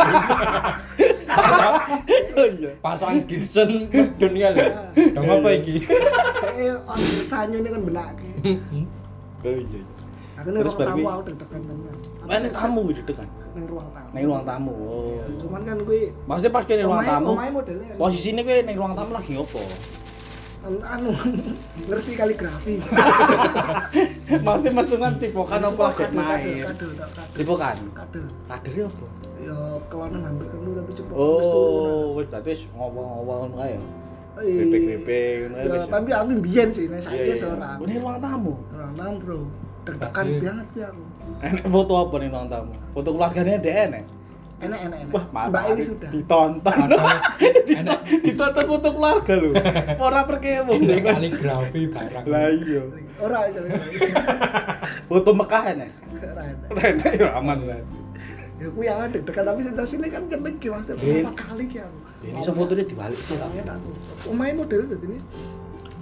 Oh iya.
Pasang Gibson medun ya lho.
iya.
Dong apa iki? Hmm,
Dee on sanyone kan benake.
Oh iya.
Aku ning
Terus
ruang tamu
barbie?
aku deg-degan tenan. Aku
Mana
sih-
tamu deg-degan?
ning ruang tamu.
Neng ruang tamu. Oh.
Cuman kan kuwi
Maksudnya pas kowe neng ruang
omahe-
tamu.
omahe modelnya kan-
Posisinya kowe neng ruang tamu lagi opo?
An- anu ngersi kaligrafi
Maksudnya mesungan cipokan Kan apa
Suka
lagi main?
kadel, kadel kadel tak kadel
Cipokan.
kadel
Kadernya apa?
ya kelonan hampir kelu tapi cepet wis turunan.
Oh, wis berarti wis ngowong-ngowong ngono kae. ya?
Eh,
Kripik-kripik ngono kae
ya,
wis.
tapi aku mbiyen sih nek
Iya,
saiki
iya.
seorang
Oh, Neng ruang tamu.
orang tamu bro deg-degan
Tapi-
banget ya aku
Enak foto apa neng ruang tamu? Foto keluarganya ada enak.
enak enak enak
Wah, maaf.
mbak ini sudah
ditonton.
Enek
ditonton foto keluarga lho. Ora perkaya wong.
enek kaligrafi barang.
Oh, Lah iya.
ora ora, ora.
Foto Mekah enak.
Ora, enak
Enak ya aman lah.
ya aku ya deg-degan tapi sensasinya kan kelik ya mas
Bin.
berapa kali ya aku
Ini so fotonya dibalik sih lah.
Soalnya tak tutup. Omahe model dadi ini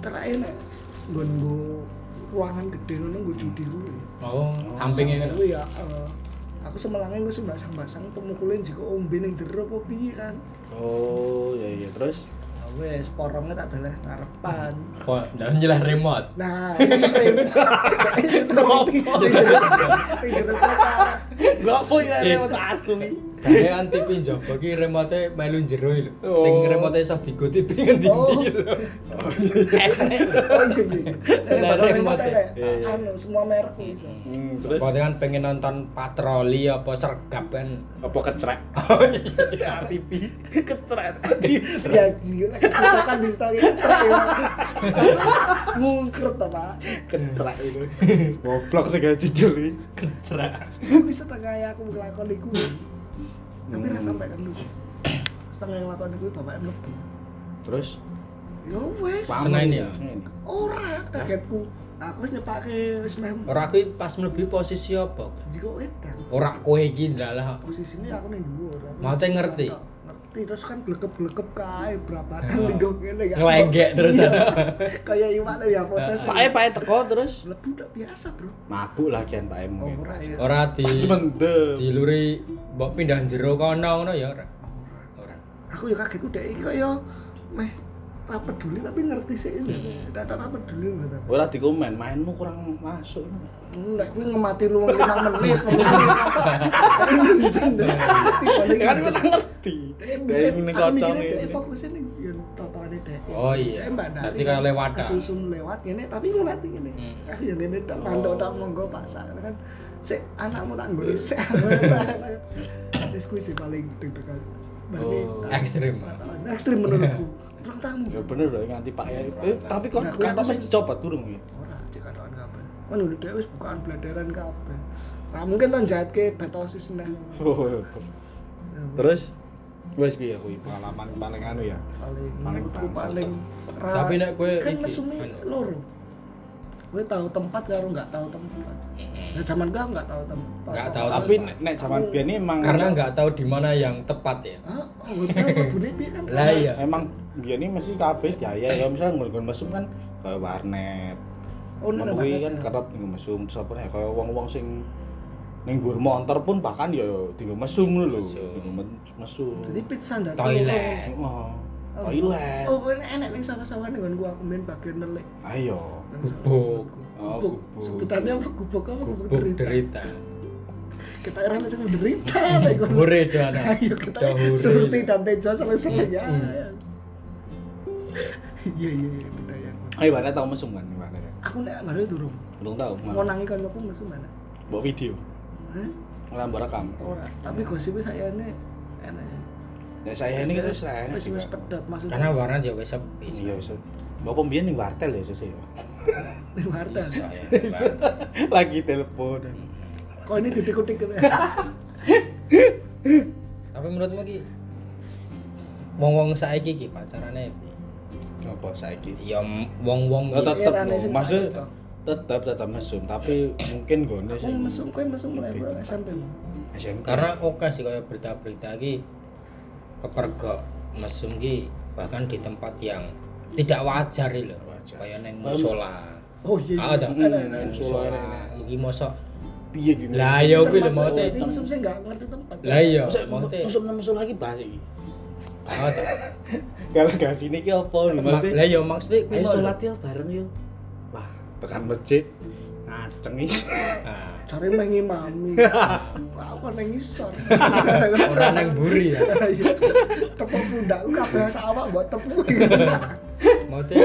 terakhir nek nggo ruangan gede ngono nggo judi kuwi.
Oh, sampinge kan.
Aku ya eh, aku semelange wis basang-basang pemukulin jika ombe ning jero apa piye kan.
Oh, ya iya terus.
Ya wis porongnya tak deleh ngarepan.
Oh, dan jelas remote.
Nah, masuk rem. Ning jero kamar.
Gak punya
Eh.
lewat ya, asu nih.
Dene kan TV njaba ki remote melu jero lho.
Oh.
Sing remote iso digoti pengen
Oh.
dindi lho. Enek.
Oh iya iya. Eh,
Nah,
bakal
remote.
remote elek.
Iya, iya.
Anu semua merek bisa.
Hmm, terus
Pokoknya kan pengen nonton patroli apa sergap kan.
apa kecrek?
Oh iya.
pipi kecrek.
Ya, gila, kan di story Mungkret apa?
Kecrek itu. Hmm. Goblok segala jujur nih.
Kecerak.
Tapi setengah yang aku ngelakon iku Tapi
Hmm.
rasa sampai kan dulu Setengah yang ngelakon iku bapak yang mlebu
Terus
Ya wes
Pak. Senain ya?
Hmm.
Ora kagetku Aku wis nyepake wis meh
Ora kuwi pas mlebu posisi apa?
Jika wedan
Ora kowe iki ndalah.
Posisinya aku nih dulu
Maksudnya ngerti?
Ngerti terus kan gelekep-gelekep kae Berapatan digong ngene kan
Ngelenggek Oh. terus
Iya.
ana.
Kayak iwan ya potes
Pak E Pak E teko terus.
Mlebu udah biasa bro
Mabuk lah kian Pak E
Oh
mungkin.
ora ya
Ora di
Pas mendem.
diluri mbok pindah jero kono ngono ya ora. Ora.
aku ya kaget udah iki kok ya meh ra peduli tapi ngerti sih ini
Hmm.
tata ra peduli lho tapi
Ora dikomen, mainmu kurang masuk.
Hmm, nek kuwi ngemati lu 5 menit
Kan
tiba-tiba
ora ngerti. Dari ini kocong
ini
ini.
fokusnya nih ya totone dek
Oh iya.
Dek, Eh, Mbak Dali
Dadi kan lewat dah.
kesusun lewat ini tapi ngulati ini
Hmm.
ah ya ini tak
Oh.
mandok tak monggo pak Sak. kan si anakmu tak nggo sik aku diskusi paling deg-degan Berarti
Oh.
tak-
Ekstrim.
ekstrim menurutku ruang tamu
Ya bener loh nganti Pak E. Eh, tapi kok
Nah,
kan
aku
wis
sih-
dicopot durung ya?
ora cek katokan kabeh kan udah dhewe wis bukaan blederan kabeh ra mungkin kan jahitke betosis neh
Oh. Terus wes piye kuwi pengalaman paling anu ya?
paling
paling
menurutku
bangsat.
paling ra-
Tapi nek kowe
kan
iki,
mesumi
anu.
loro gue tahu tempat karo nggak tahu tempat nah zaman gue nggak tahu tempat
Nggak tahu
Tapi
tempat.
nek zaman biyen ini emang
Karena nggak tahu di mana yang tepat ya.
ah hotel berbunyi piye kan
Lah iya.
emang biyen ini mesti kabeh ya ya ya misalnya nggon-nggon mesum kan kaya warnet.
oh nang
Kuwi kan
banget.
kerep nggo mesum sapa nek kaya wong-wong sing ning dhuwur motor pun bahkan ya tinggal mesum lho.
Mesum.
Tinggal mesum.
jadi pizza ndak
Toilet.
Oh. Toilet.
Oh, kan enak ning sawah-sawah ning nggonku aku main bagian nelik.
Ayo.
Nang
Gubuk.
sawah.
Oh,
Gubuk.
gubuk.
Sebutannya apa gubuk apa gubuk
Gubuk
derita.
derita.
Kita era langsung derita lek kon.
Hore doana.
Ayo kita
Dah hore.
surti dan tejo selesai ya.
Mm-mm.
Iya iya iya beda ya.
Ayo mana tahu mesum kan gimana ya?
Aku nek baru durung.
Belum tahu.
Mau nangi kancaku mesu mana?
Bawa video.
Hah?
Orang berekam.
Ora. Tapi gosipnya saya ini enak sih.
Ya saya ini kita selain.
Wis wis pedot maksudnya.
Karena warna juga sepi.
Iya, so. Bapak mbiyen ning wartel ya, Sus. ya?
Ini warta.
Iso ya, Bang.
Lagi telepon.
Kok ini titik-titik gitu ya?
Tapi menurutmu ki wong-wong saiki ki pacarane piye?
Apa saiki?
ya wong-wong
Oh,
ki.
tetep
Erane
loh.
sing
Maksud
saiki toh.
tetep tetep mesum, tapi mungkin gone
Aku
sih.
mesum, kowe mesum mulai
Lebih
bro
tepat.
SMP.
SMK.
karena oke sih kayak berita-berita ki kepergok mesum ki bahkan di tempat yang tidak wajar lho
Wajar.
kayak neng
Paham.
musola
Oh iya.
ah ada
Mm-mm,
neng
neng musola,
musola
neng- neng.
iki mosok
piye gimana?
Lah,
sih?
iya,
Termasuk
kuwi lho maksudnya.
berarti mesum sih nggak ngerti tempat.
lah iya
Masa-
maksudnya
Mesum nang mesum lagi bahas iki.
ah, tak.
Kalau gak sini ki apa
Ma-
maksudnya?
lah iya maksudnya kuwi
Ayo
lho.
sholat yuk bareng yuk. Wah, tekan masjid ngaceng iki.
Ah,
Cari mengi mami. Aku kan nang ngisor.
ora neng buri ya
Iya. Tepu pundakku kabeh sawak mbok tepu.
maksudnya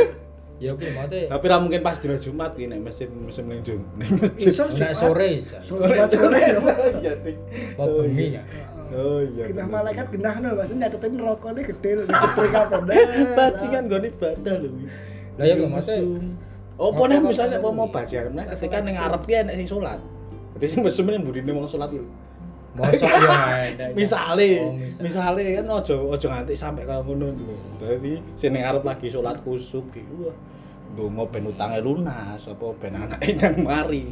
ya oke maksudnya
Tapi ra mungkin pas dina Jumat iki nek mesin musim ning Jum. Ning masjid.
Iso
nek sore iso
Sore sore.
Iya, Dik.
apa bengi ya
Oh iya.
Genah
bener.
malaikat genah no, maksudnya nyatetin rokoknya gede lho, gede kabeh.
Bajingan gue ibadah lho.
lah iya lho, maksudnya
Oh, pone misalnya apa mau bajingan meneh ketika ning ngarep ki enek sing salat. Berarti sing mesum ning burine wong salat iki.
mosok ya ada ya.
Misale,
Oh, misale.
misale kan aja aja nganti sampe kaya ngono lho. Dadi sing ning ngarep lagi salat kusuk ki wah. Dongo ben utange lunas apa ben anake nang mari.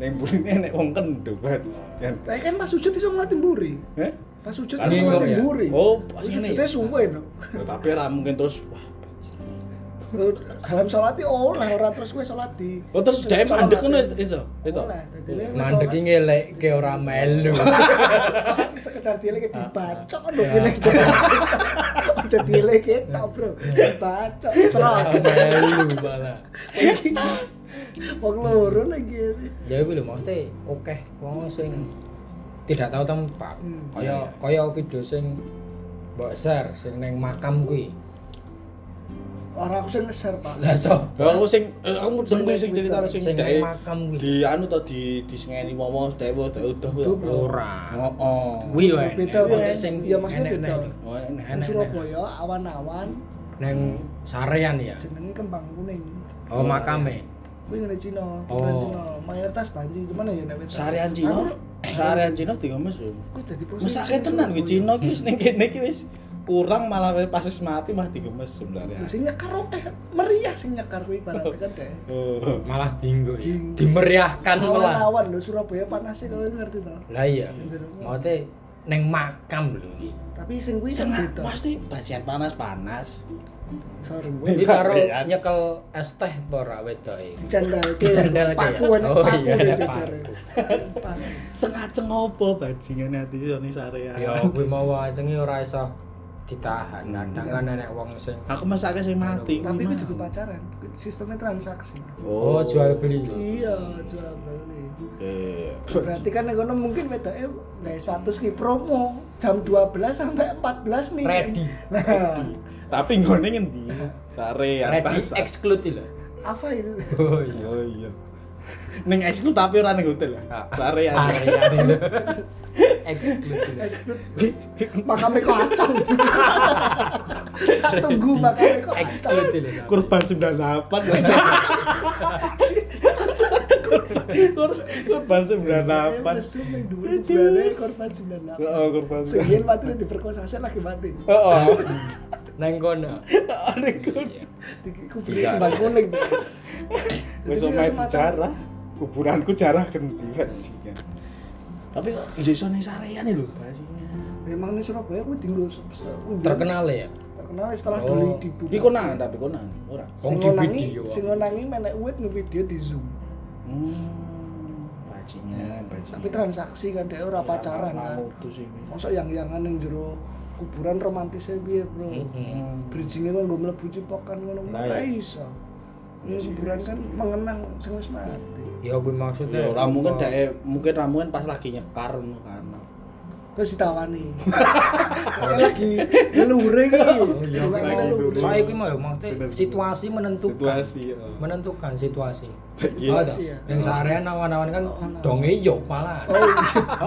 Ning burine enek wong kendho bajingan.
Tapi kan pas sujud iso ngeliatin buri.
Heh?
Pas sujud
Kan
iso
nengok
ngeliatin
ya?
buri.
Oh, pas ngene.
sujudnya suwe no.
Ya, Tapi ra mungkin terus wah
Lho, dalam sholat itu oleh orang terus gue sholat di
Oh terus jahe mandek ngono iso. Itu.
oleh jadi gue
mandek ya,
sholat,
ki ngelek ke ora melu
tapi sekedar dia
Ah.
lagi dibacok dong
Ya.
gue lagi aja dia lagi kita bro
Ya.
dibacok serot
melu malah
wong loro lagi
ya itu lho maksudnya oke wong sing tidak tahu tempat
Hmm.
kaya kaya video sing mbok share sing neng makam kuwi
orang aku sih ngeser pak
lah sop
Ya, aku sing eh, aku mudeng kuwi sing cerita sing
sing
dae
neng makam kuwi
di anu to di disengeni momo dae wae dae udah kuwi.
Duh,
ora
Heeh.
kuwi lho enek.
Beda,
Maksudnya
beda.
sing
Ya, maksudnya
enek-enek
beda.
lho.
Oh, enak.
Enak, enak.
Surabaya awan-awan
neng sarean ya
jenenge kembang kuning
oh makame
gue ngene Cina
Oh.
bukan Cina mayoritas banji cuman ya nek
Sarian Cina, sarian Cina di Gomes yo.
gue tadi
Mesake tenan kuwi Cina ki wis ning kene ki wis kurang malah wis pasis mati mah di Gomes
Lho,
sebenarnya.
sing nyekar eh meriah sing nyekar kuwi ibaratnya kan deh
Oh.
malah dinggo ya
Dinggo.
Kan
dimeriahkan malah
awan-awan lho Surabaya panasnya kalau ngerti toh
lah iya
Jero.
maksudnya neng makam lho iki
tapi sing kuwi sing
Sengat
beda
pasti bajian panas-panas.
sorry
Iki
gue
karo
Sampeyan.
nyekel es teh apa ora wedoke?
dicandal
Dicandal ke ya?
pakuan
Oh,
paku
iya,
dia
paku.
jajar Paku.
Sengaja ngopo bajingan ati sone sarian.
Ya kuwi mau wajenge ora iso ditahan.
Hmm.
Kadang kan enek wong sing
Aku mesake sing mati.
tapi
kuwi
kuwi
mau.
dudu pacaran Kuwi sistemnya transaksi
oh jual beli.
iya jual beli
Eh,
berarti kan yang kono mungkin beda eh nggak status ki promo jam 12 sampai 14 nih
Ready.
nah
Tapi nggone ngendi? Sare
Ready
atas.
exclude lho.
apa itu
Oh iya.
Ya, Oh iya. Ning eks lu tapi ora ning hotel ya.
Ah.
Sare ya.
Sarean itu. Exclude lho.
makamnya kacang tak tunggu makamnya kacang
Exclude lho.
Kurban 98. Kur- Kurban 98.
mesum yang dulu bulannya korban 98
Oh, kurban.
Sekian mati diperkosa saya lagi mati
Heeh.
Neng kono. Iya.
Aku beli
Bisa.
kembang kuning.
Wis
Jadi
omahe
semacam-
bicara. Kuburanku jarah genti bajingan. Tapi kok iso ning sarean lho bajingan.
Memang nih Surabaya aku tinggal se- se-
Terkenal ya.
Terkenal setelah
Oh.
dulu di buku.
Iki konan tapi konan ora.
Wong
Sing
di
ngonangi,
video.
sing ngonangi menek uwit ngevideo di Zoom.
Hmm, bajingan, bajingan. Ya,
Tapi transaksi kan dia ora pacaran kan.
Mutus iki.
Masa yang-yangan yang jero kuburan romantisnya piye, Bro.
Mm-mm.
Hmm.
Bridgingnya kan gue mlebu cipokan ngono
Mm-hmm. Nah,
nah,
ya.
iso. Ya kuburan kan mengenang sing wis mati.
ya gue maksudnya
Ya, ora mungkin dek mungkin ra mungkin pas lagi nyekar ngono kan.
Terus ditawani. Kayak lagi leluhure iki.
Oh, iya,
Kayak
lagi
leluhure.
leluhure.
saya gue mau maksudnya
Bener, bener.
situasi menentukan
Situasi. oh. heeh.
menentukan situasi
Iya.
Oh, toh.
Iya.
yang sarean awan-awan kan
Awan-awan.
donge yo malah
Oh,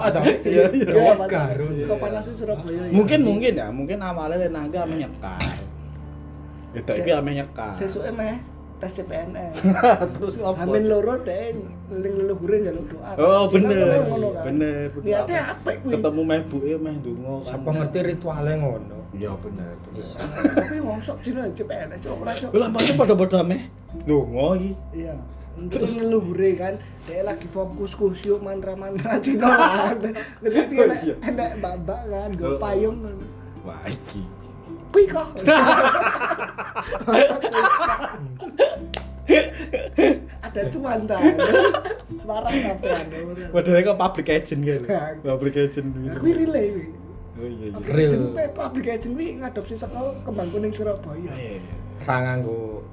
oh toh.
Iya, iya.
Iya,
Yo,
Mas.
garut
Suka panasnya Surabaya. ya.
Mungkin mungkin ya, mungkin awalnya nangga menyekar. Itu iki ame nyekar.
Ah. sesuke meh tes CPNS.
Terus ngopo?
Amin loro deh, ling leluhure njaluk doa.
Oh, bener.
Cinta ngono kan.
Bener. bener.
Niate apik kuwi.
Ketemu meh buke meh ndonga kan.
siapa ngerti ritualnya ngono
Ya bener, bener.
Bisa.
Tapi ngosok Cina CPNS cok ora cok.
Lah mesti padha-padha meh ndonga iki.
Iya. Terus leluhure kan, dia lagi fokus kusyuk mantra-mantra Cina kan. Jadi dia
Oh,
enak-
iya.
enak babak kan, gue
Oh.
payung.
Wah, iki.
Kui kok. Ada cuan ta. Marah anu. kapan.
Padahal kok public agent kan. Public agent gitu.
Kui relay kui.
Oh iya iya.
Real.
Jeneng pe- Public agent kui ngadopsi saka kembang kuning Surabaya.
Iya, iya.
ra nganggo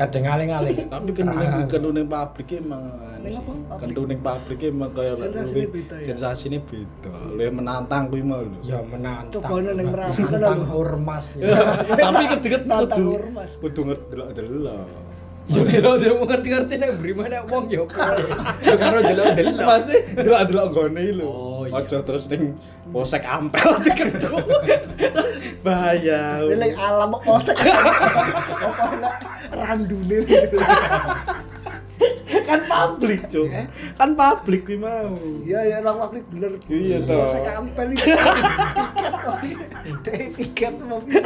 kadang aling-aling
Tapi
Ah.
kenduning kenduning pabrik emang anu
Ning
sih.
apa? Pabrik?
Kenduning pabrik emang kaya
Sensasinya beda ya?
Sensasinya beda. Lu yang menantang kuwi mau lho.
ya menantang
Coba ono ning Merapi kan Iya. kono
menantang
lho.
ormas ya
Tapi kedeget
Nantang
kudu
ormas.
kudu ngedelok-delok.
ya kira kira ngerti-ngerti nek beri mana wong ya piye. ya karo delok-delok
Pasti delok-delok gone lho.
Oh, iya.
Aja terus ning posek ampel diketok. Bahaya.
Ini lagi alam kok polsek. Apa enak randune gitu.
Kan publik, Cuk. Kan publik kuwi mau.
Eh? Iya ya orang publik bener.
Iya, toh.
Polsek ampel iki. Piket kok. Dek piket mau piket.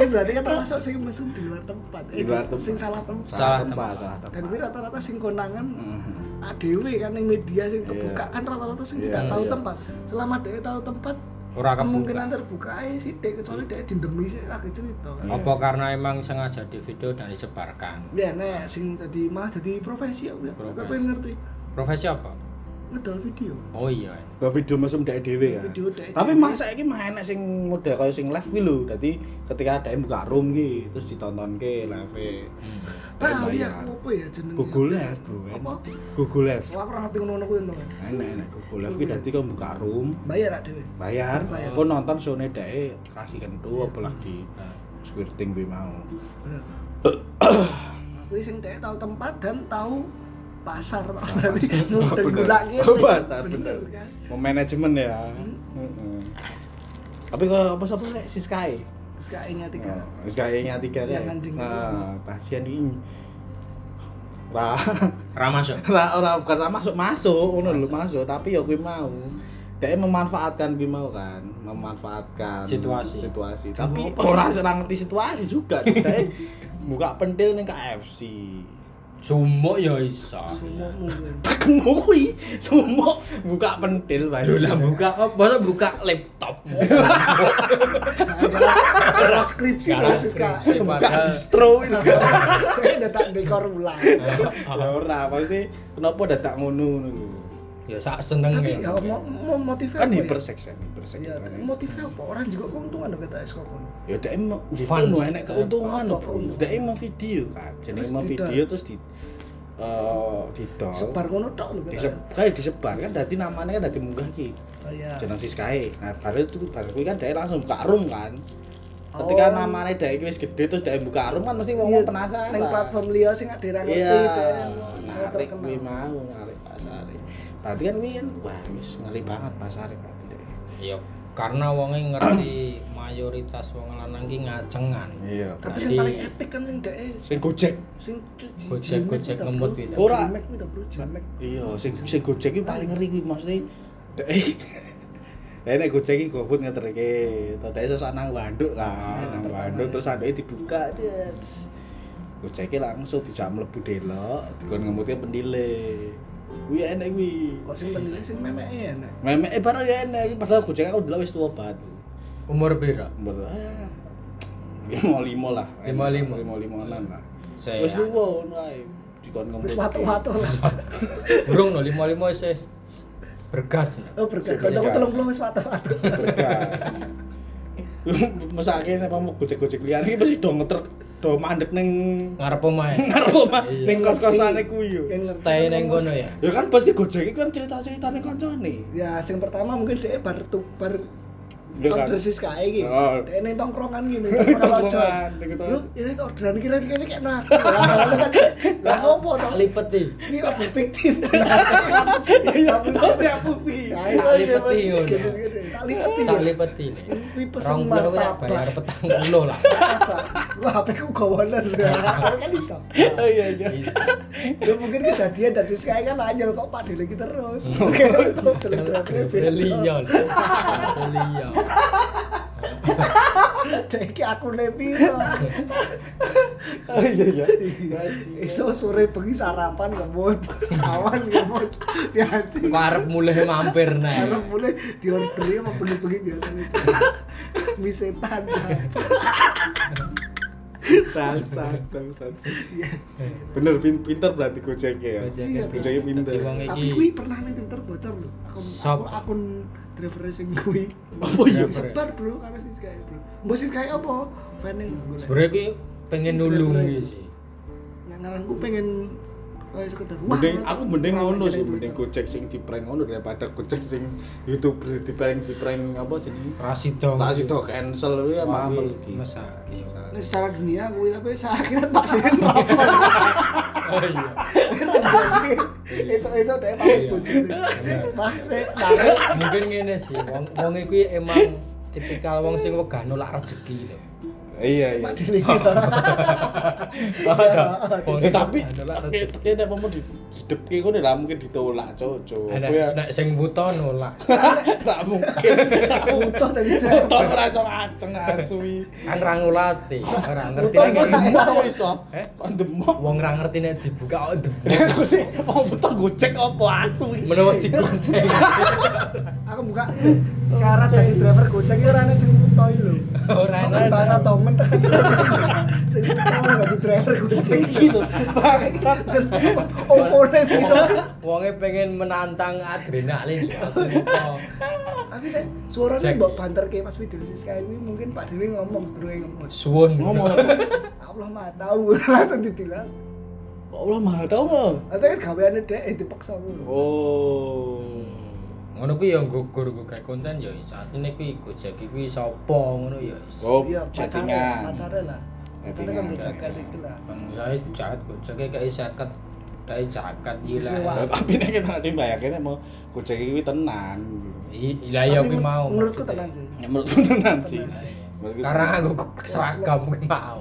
Ini berarti kan termasuk sing mesum di luar tempat.
Di
Eh,
luar tempat.
Sing salah tempat.
Salah
salah
Dan
tempat.
ini rata-rata sing konangan
Mhm.
ADW kan yang media sing kebuka
Iya.
kan rata-rata sing
Iya,
tidak tahu
iya.
tempat. Selama dia tahu tempat
ora kebuka
kemungkinan terbuka aja sih Dek. kecuali dia dindemi sih lagi cerita.
Iya.
apa karena emang sengaja di video dan disebarkan
Ya nah, sing tadi malah jadi profesi aku ya.
Profesi.
Aku pengen ngerti
profesi apa
ngedol video.
oh iya
Ke video mesum dek dhewe kan.
Video dek
Tapi
dhewe.
masa iki mah enak sing model kaya sing live kuwi lho. Dadi ketika ada yang buka room ki terus ditontonke live.
Hmm.
Nah, ini aku apa ya jenenge?
Google Live, Bro.
Apa?
Google Live.
Wah, aku ora ngerti ngono kuwi ngono.
Enak enak Google Live ki dadi kau buka room,
Bayar ah dhewe.
bayar,
Bayar. Iya.
kau nonton shownya dek kasih kentu apa lagi squirting gue mau.
Bener. Aku sing dek tahu tempat dan tahu pasar tau. Ngundeng
Bener.
gulake.
Ah, Oh, pasar, bener.
kan.
Mau manajemen ya.
Hmm.
Heeh. Tapi kalau apa sapa nek si Sky?
Sekarang ingat tiga.
Oh, Sky nya tiga
Yang
kan.
anjing.
Nah, pasien ini. Wah,
ra masuk
ora ora bukan ora masuk masuk ngono lho masuk tapi ya kuwi mau dia memanfaatkan kuwi mau kan memanfaatkan
Situasi.
situasi tapi ora serang ngerti situasi juga dia buka pentil ning KFC
sumuk ya iso
Semua mungkin.
ketemu kuwi semua buka pentil wae
Lho lah buka apa? Masa buka laptop.
Garap Nah, skripsi
Garap
lah Siska.
skripsi.
buka
padahal-
distro ini.
Tapi udah tak dekor ulang.
ya ora pasti kenapa dadak ngono ngono lho
Ya sak seneng
Tapi
ya.
ya mau mau motif
iya, kan
apa ya?
hipersex kan hipersex
Iya,
kan.
motifnya apa? Orang juga keuntungan dong kata SK kan.
ya dia mau
Fans.
jadi enak keuntungan loh
Apa
bro
keuntungan?
dia mau video kan jadi
Terus
mau
didol.
video terus di eh didol
Sebar ngono tok lho
Disep, kayak disebar kan dadi namanya kan dadi munggah ki
Iya.
jeneng sis kae nah baru itu baru kuwi kan dia langsung buka room kan ketika
Oh.
namanya dia iki wis gede terus dia buka room kan mesti wong wong
Iya,
penasaran kan.
Ning platform liya sing ada ra ngerti
iya
daerah ngerti,
narik
gitu kan. terkenal.
kuwi mau narik pasar berarti kan kuwi kan wah wis ngeri banget pasar berarti deh.
Ya karena wonge ngerti mayoritas wong lanang ki ngacengan.
iya
Tapi sing
Jadi-
paling epic kan sing dhek
sing gojek
sing cu- ji-
Gojek-
jimek
gojek
itu,
ngemut
bro.
itu.
Ora.
Jimek itu, bro, jimek.
iya sing sing gojek iki paling ngeri kuwi maksudnya dek Lah nek gojek iki GoFood ngeterke, tadi iso sak nang wanduk kan, nang wanduk terus sanduke dibuka. det. Gojek iki langsung dijak mlebu delok, dikon ngemutke pendile. Kuwi enak kuwi.
Kok sing penilai sing ya, memeke enak.
Memek eh barang enak iki padahal gojek aku delok wis tuwa banget.
Umur pira?
Umur ah, lima lima lah.
Lima lima.
lima limaan lah.
Saya
Wis tuwa ngono ae. Dikon ngemutke.
Wis watu-watu lah.
burung no 55 isih bergas.
Oh, berkat.
Berkas.
Kocokku tolong belum wis patah-patah.
Bergas. Mesake nek mau gojek-gojek liyane iki mesti do ngetrek do mandek ning
Ngarep omahe.
ngarep omah
Iya.
ning kos-kosane kuwi yo.
Kan ngerti
Stay
kan
neng
ngomong.
kono ya.
Ya kan pasti gojek iki kan cerita-ceritane kancane.
Ya, sing pertama mungkin dia bar tuh bar
Ya kan.
order sis kae iki.
Oh.
Dia neng tongkrongan gini,
Tongkrongan,
tongkrongan
neng
aja.
tongkrongan.
Lu ini tuh orderan kira kira kayak nak. Lah, lah, kan, lah opo
Tak
toh?
lipeti.
Ini order fiktif. Hapusin, hapusin.
Iya,
Tak lipeti ngono.
Tak lipeti.
Tak lipeti. nih.
Ini pesen
Rong puluh ya
martabak.
bayar petang puluh lah.
Apa? Gua HP ku gawanan.
Iya.
Lah, kan iso.
Oh iya iya.
Bisa.
Ya mungkin kejadian dan sis kae kan anyel kok Pak Dele iki terus.
Oh.
Oke, kok jelek-jeleknya beda.
Beliau. Beliau.
Dek Iki aku nepiro.
Oh iya iya.
Iso sore bengi sarapan ngemut. Awan ngemut. Di hati.
Kok arep mulai mampir nah.
Karena boleh diorderi sama bengi-bengi biasanya. Mie setan.
Bangsat, bangsat. Bener pin- pinter berarti gojeknya ya.
Gojek.
Iya,
Gojeknya pinter.
Dadi wong
Tapi
iki.
kui pernah nih Twitter bocor lho. Akun
Sop.
akun, akun driver sing kui.
Oh iya.
Sebar bro karena sis kae bro. Mbok sis kae apa? Fane gue.
Sebenarnya kuwi pengen nulungi sih.
Ngangaranku pengen kayak sekedar wah.
mending
mantap,
aku mending
pernah
ngono
nih
sih
jadi
mending
Twitter.
gojek sing di prank ngono daripada gojek sing youtuber di prank di prank apa jadi
Rasido.
tak sih toh cancel itu ya
Wah,
mahal
kuwi
lagi
Mesa. iya.
Nah, secara dunia kui tapi saya akhirnya tak keren rokok.
Oh iya.
Esok-esok deh pakai
Iya.
bocor. Sih, Pak, Dek, tarik.
Mungkin ngene sih. Wong wong iki emang tipikal wong sing wegah nolak rezeki lho.
iya
Pak Dele gitu.
Ada.
eh, tapi tapi tapi ada apa mau di hidup kayak gue udah mungkin ditolak cocok
Ada
Kowe ya
nek sing buta nolak.
nggak mungkin
Utuh tadi. Dek.
Tonton rasa aceng asui
Kan ra ngulati, ora ngerti
Buta
nek
nolak.
iki-
demok kok iso
Eh?
kok demok
wong ra ngerti nek dibuka kok ndemok.
aku sih mau butuh gojek apa asui
menawa dikunceng.
Aku buka syarat jadi driver Gojek itu rane sing utuh iki lho.
Ora
Aku kan
enak.
bahasa tomen tekan. Jadi kamu jadi driver Gojek gitu.
bangsat
Opone gitu.
Wonge pengen menantang adrenalin. ya, ternyata.
Tapi deh, suaranya
Cek.
mbok banter kayak pas video sis kayak ini mungkin Pak Dewi ngomong setelah ngomong.
Suwun.
ngomong
Allah mah tahu langsung ditilang.
Allah mahal tau nggak
Atau kan gaweane deh eh, dipaksa ngono.
oh
Ngono kuwi ya gugur gue kayak konten ya iso. Asline kuwi Gojek kuwi sapa ngono ya iso.
oh
Iya,
chattingan
pacarnya, pacarnya lah. Pacarnya kan
Chattingan.
berjaga itu lah.
Pengusaha e jahat Gojek kayak zakat kayak zakat
Sewa.
gila.
tapi nek kena dibayangin mau gojek iki tenan
I- Lah ya
Tapi
kuwi mau.
Menurutku
maksudnya.
tenang sih.
ya menurutku tenan sih
Tenan
sih.
Menurutku
Karena
tenan.
aku seragam kuwi mau.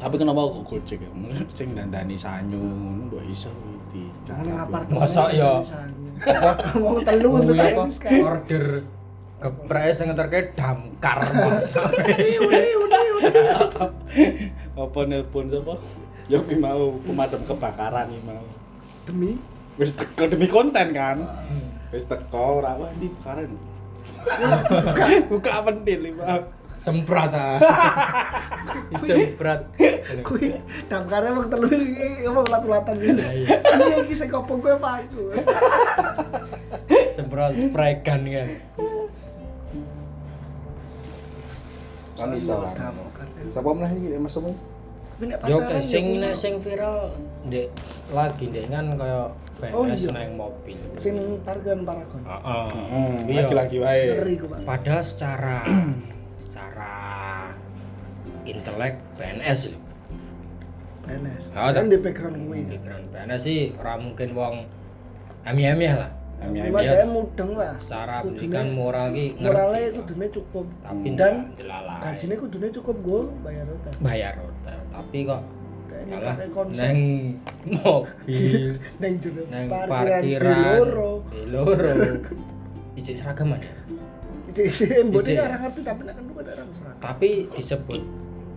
tapi kenapa kok gojek ya Mungkin sing dandani sanyu ngono mbok iso di
Jangan ngapar
Masa ya?
gitu, Ngomong telu
Kuwi
misalnya
apa?
sis kayak.
Order geprek sing ngeterke damkar masa.
apa nelpon siapa ya kuwi mau pemadam kebakaran iki mau
Demi
wis teko demi konten kan
Hmm.
wis teko ora wah ndi kebakaran buka buka pentil iki mau
semprat ah semprat
Kui damkarnya emang telur ini emang lat-latan gitu.
Iya, iya.
Iya iki sing kopong gue Pak aku.
semprat spray gun kan
kan iso
Soalnya
kan.
kamu kan.
siapa meneh iki Mas Semu
Tapi nek
yo
pacaran
sing
ya,
nek sing viral ndek lagi ndek kan kaya
Oh,
PNS
iya.
nang mobil
sing targan paragon.
heeh Iya.
lagi-lagi Hmm, wae
Ngeri ku Pak.
padahal secara secara intelek PNS lho
PNS.
Ah, tak.
Kan di background gue.
Hmm.
background PNS sih ora mungkin wong ami-ami lah
Ami-ami.
Cuma dia mudeng lah.
secara
Kudune-
pendidikan moral ki ngerti Ah,
Moralnya
iya.
kudune cukup.
tapi
Dan
ndelalae.
gajinya kudune cukup gue bayar utang.
bayar hotel tapi kok
Kayaknya
malah
kayak konsep.
neng mobil
Neng juga
neng
parkiran di
parkiran
loro.
di loro ijik seragaman ya
Isi-isi embodnya
Ijik.
orang ngerti tapi nek kan gue ada orang serak.
tapi disebut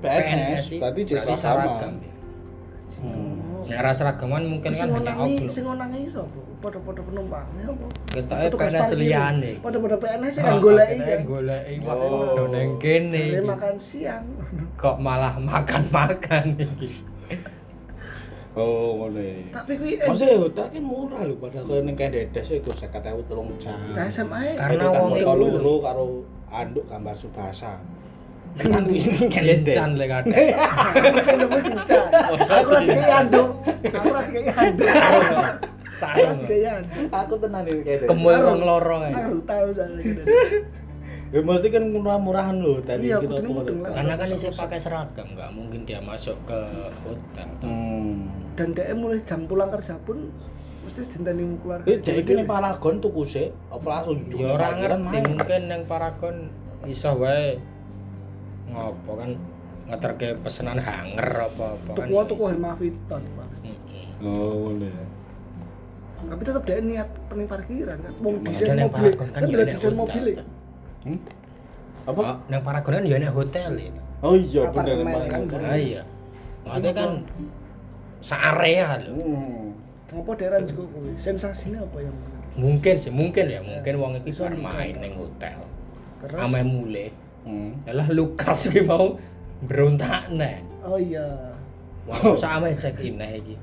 PNS
sih,
berarti jasa
berarti seragam
sama.
ya.
Hmm.
Nek ra seragaman mungkin
Oh. Sing
kan banyak
onangi,
oblong
sing onangi sapa? Padha-padha penumpangnya apa?
ketoknya
Petugas
PNS
parkir.
liyane
Padha-padha PNS
Oh,
yang goleki
akhirnya
kan.
goleki
Oh.
padha neng kene iki.
Jare makan siang.
kok malah makan-makan iki
Oh, ngono ya.
Tapi kuwi eh,
Maksudnya hutang kan murah lho padahal koyo ning Kendedes iku 50.000 telung jam.
cah SMA ya.
Karena
Karena wong
wong
motor
iku lho.
loro Kan karo anduk gambar Subasa. Nanti Kendedes.
Kencan lek kadang.
Saya nemu sincah.
Oh,
Aku
sorry.
lagi kayak anduk. Aku lagi kayak anduk. Aku
Sarung.
lagi kayak anduk.
Aku tenan iki Kendedes.
gitu.
Kemul wong loro ae.
Aku tahu soalnya. gitu.
Ya mesti kan murah-murahan lho tadi
Iya,
kita
aku tenan mudeng lah.
Karena kan saya pakai seragam, nggak mungkin dia masuk ke hotel.
Hmm.
Dan dia mulai jam pulang kerja pun mesti jenteni mau keluar.
Jadi jadi Eh, ini paragon tuku sih, apa langsung jujuk
Ya
ning
orang
parkiran
ngerti
main.
mungkin yang paragon iso wae ngopo kan ngeterke pesenan hanger apa-apa kan.
Tuku tuku Hemaviton. Pak.
Mm-mm.
Oh, ngono ya.
Tapi tetap dia niat pening parkiran kan. Mau
Ya,
desain
padahal yang
mobil.
paragon kan
Kan
dia
udah
ada
desain
hotel.
mobil kan.
Hmm? Apa?
Nang paragon kan ya nek hotel ya.
Ah, Oh iya bener
Apartemen kan,
Paragon.
bener.
Nah, iya. Maksudnya kan searea lho.
Hmm.
Apa daerah juga kuwi? Sensasinya apa ya? yang
Mungkin sih, mungkin ya, mungkin wong iki
Bisa
bar
mungkin.
main ning hotel.
keras?
Ame mule.
Hmm.
Lah Lukas ki mau berontak nek.
Oh iya.
Wah, sampe cek ineh iki.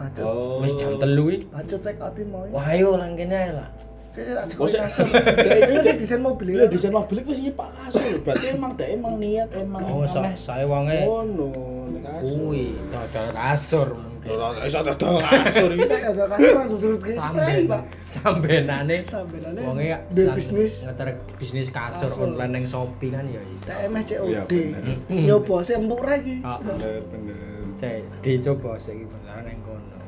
Bacot.
Oh.
Wis jam 3 iki.
Bacot cek outin mau. ya.
Wah, ayo lang kene ae lah.
Saya tak
Oh,
sekolah
saya-
kasur. Ini kan desain mobil
Lha desain mobil wis nyepak kasur lho. Berarti emang dia emang niat emang
Oh, so,
emang
saya wonge
Oh,
ngono nek kasur.
kuwi cocok kasur mungkin.
Ora iso dodol kasur iki.
Ini ada kasur langsung duduk kayak spray,
Samben
Pak.
sambenane
Sambenane
wonge
duwe
san-
bisnis.
ngeter bisnis kasur
Kasur.
online ning Shopee kan ya iso.
Saya meh
Iya,
COD.
bener. Ah.
Mm.
Nyoba saya empuk lagi.
Heeh.
Bener bener.
Cek dicoba saiki beneran ning kono.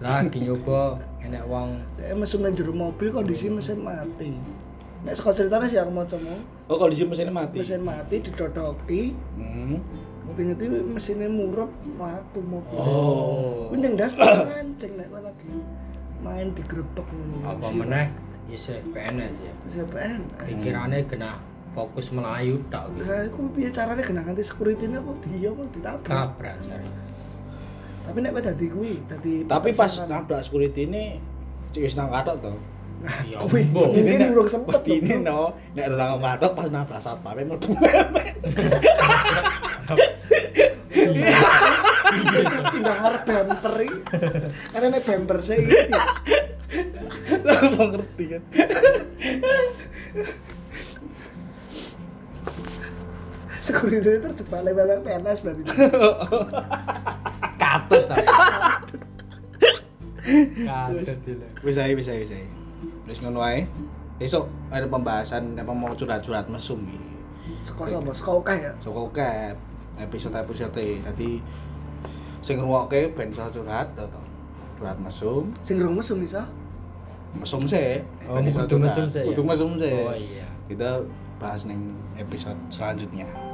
Lagi nyoba enek wong
Saya mesum nang jero mobil kondisi mesin mati. Nek sekolah ceritanya sih aku mau
Oh, kondisi mesinnya mati.
mesin mati didodoki,
Hmm.
mobilnya itu mesinnya murup, mati mobil.
Oh.
Kuwi ning daspor kancing nek kowe lagi main digrebek ngono.
apa
Mesin-
meneh isih PNS ya.
mesin PN.
Pikirane genah fokus melayu tok gitu.
Lah iku piye carane kena ganti security-ne kok dia kok ditabrak.
Tabrak jare.
Tapi nek kowe dadi kuwi, dadi
Tapi pas
tersangka.
nabrak security ini cek wis nang katok to.
Ya
Kuwi
ampun.
mungkin urung sempet
Ini
lho.
no, nek orang katok pas nabrak satpam mlebu.
Pindah ngarep bumper iki. Karena nek bumper sih iki.
Langsung ngerti kan.
security terjebak lewat PNS berarti.
Katut ta. Katut dile.
Wis ae, wis ae, wis ae. Wis ngono ae. Besok ada pembahasan apa mau curhat-curhat mesum iki.
Sekolah apa? Sekolah kah ya?
Soko cap episode episode tadi e. sing ngrungokke ben iso curhat to to. Curhat mesum,
Sing rong mesum iso.
mesum sih.
Oh,
Ben iso
kudu
curhat. Oh,
mesum sih ya?
Kudu mesum sih.
Oh iya.
Kita bahas ning episode selanjutnya.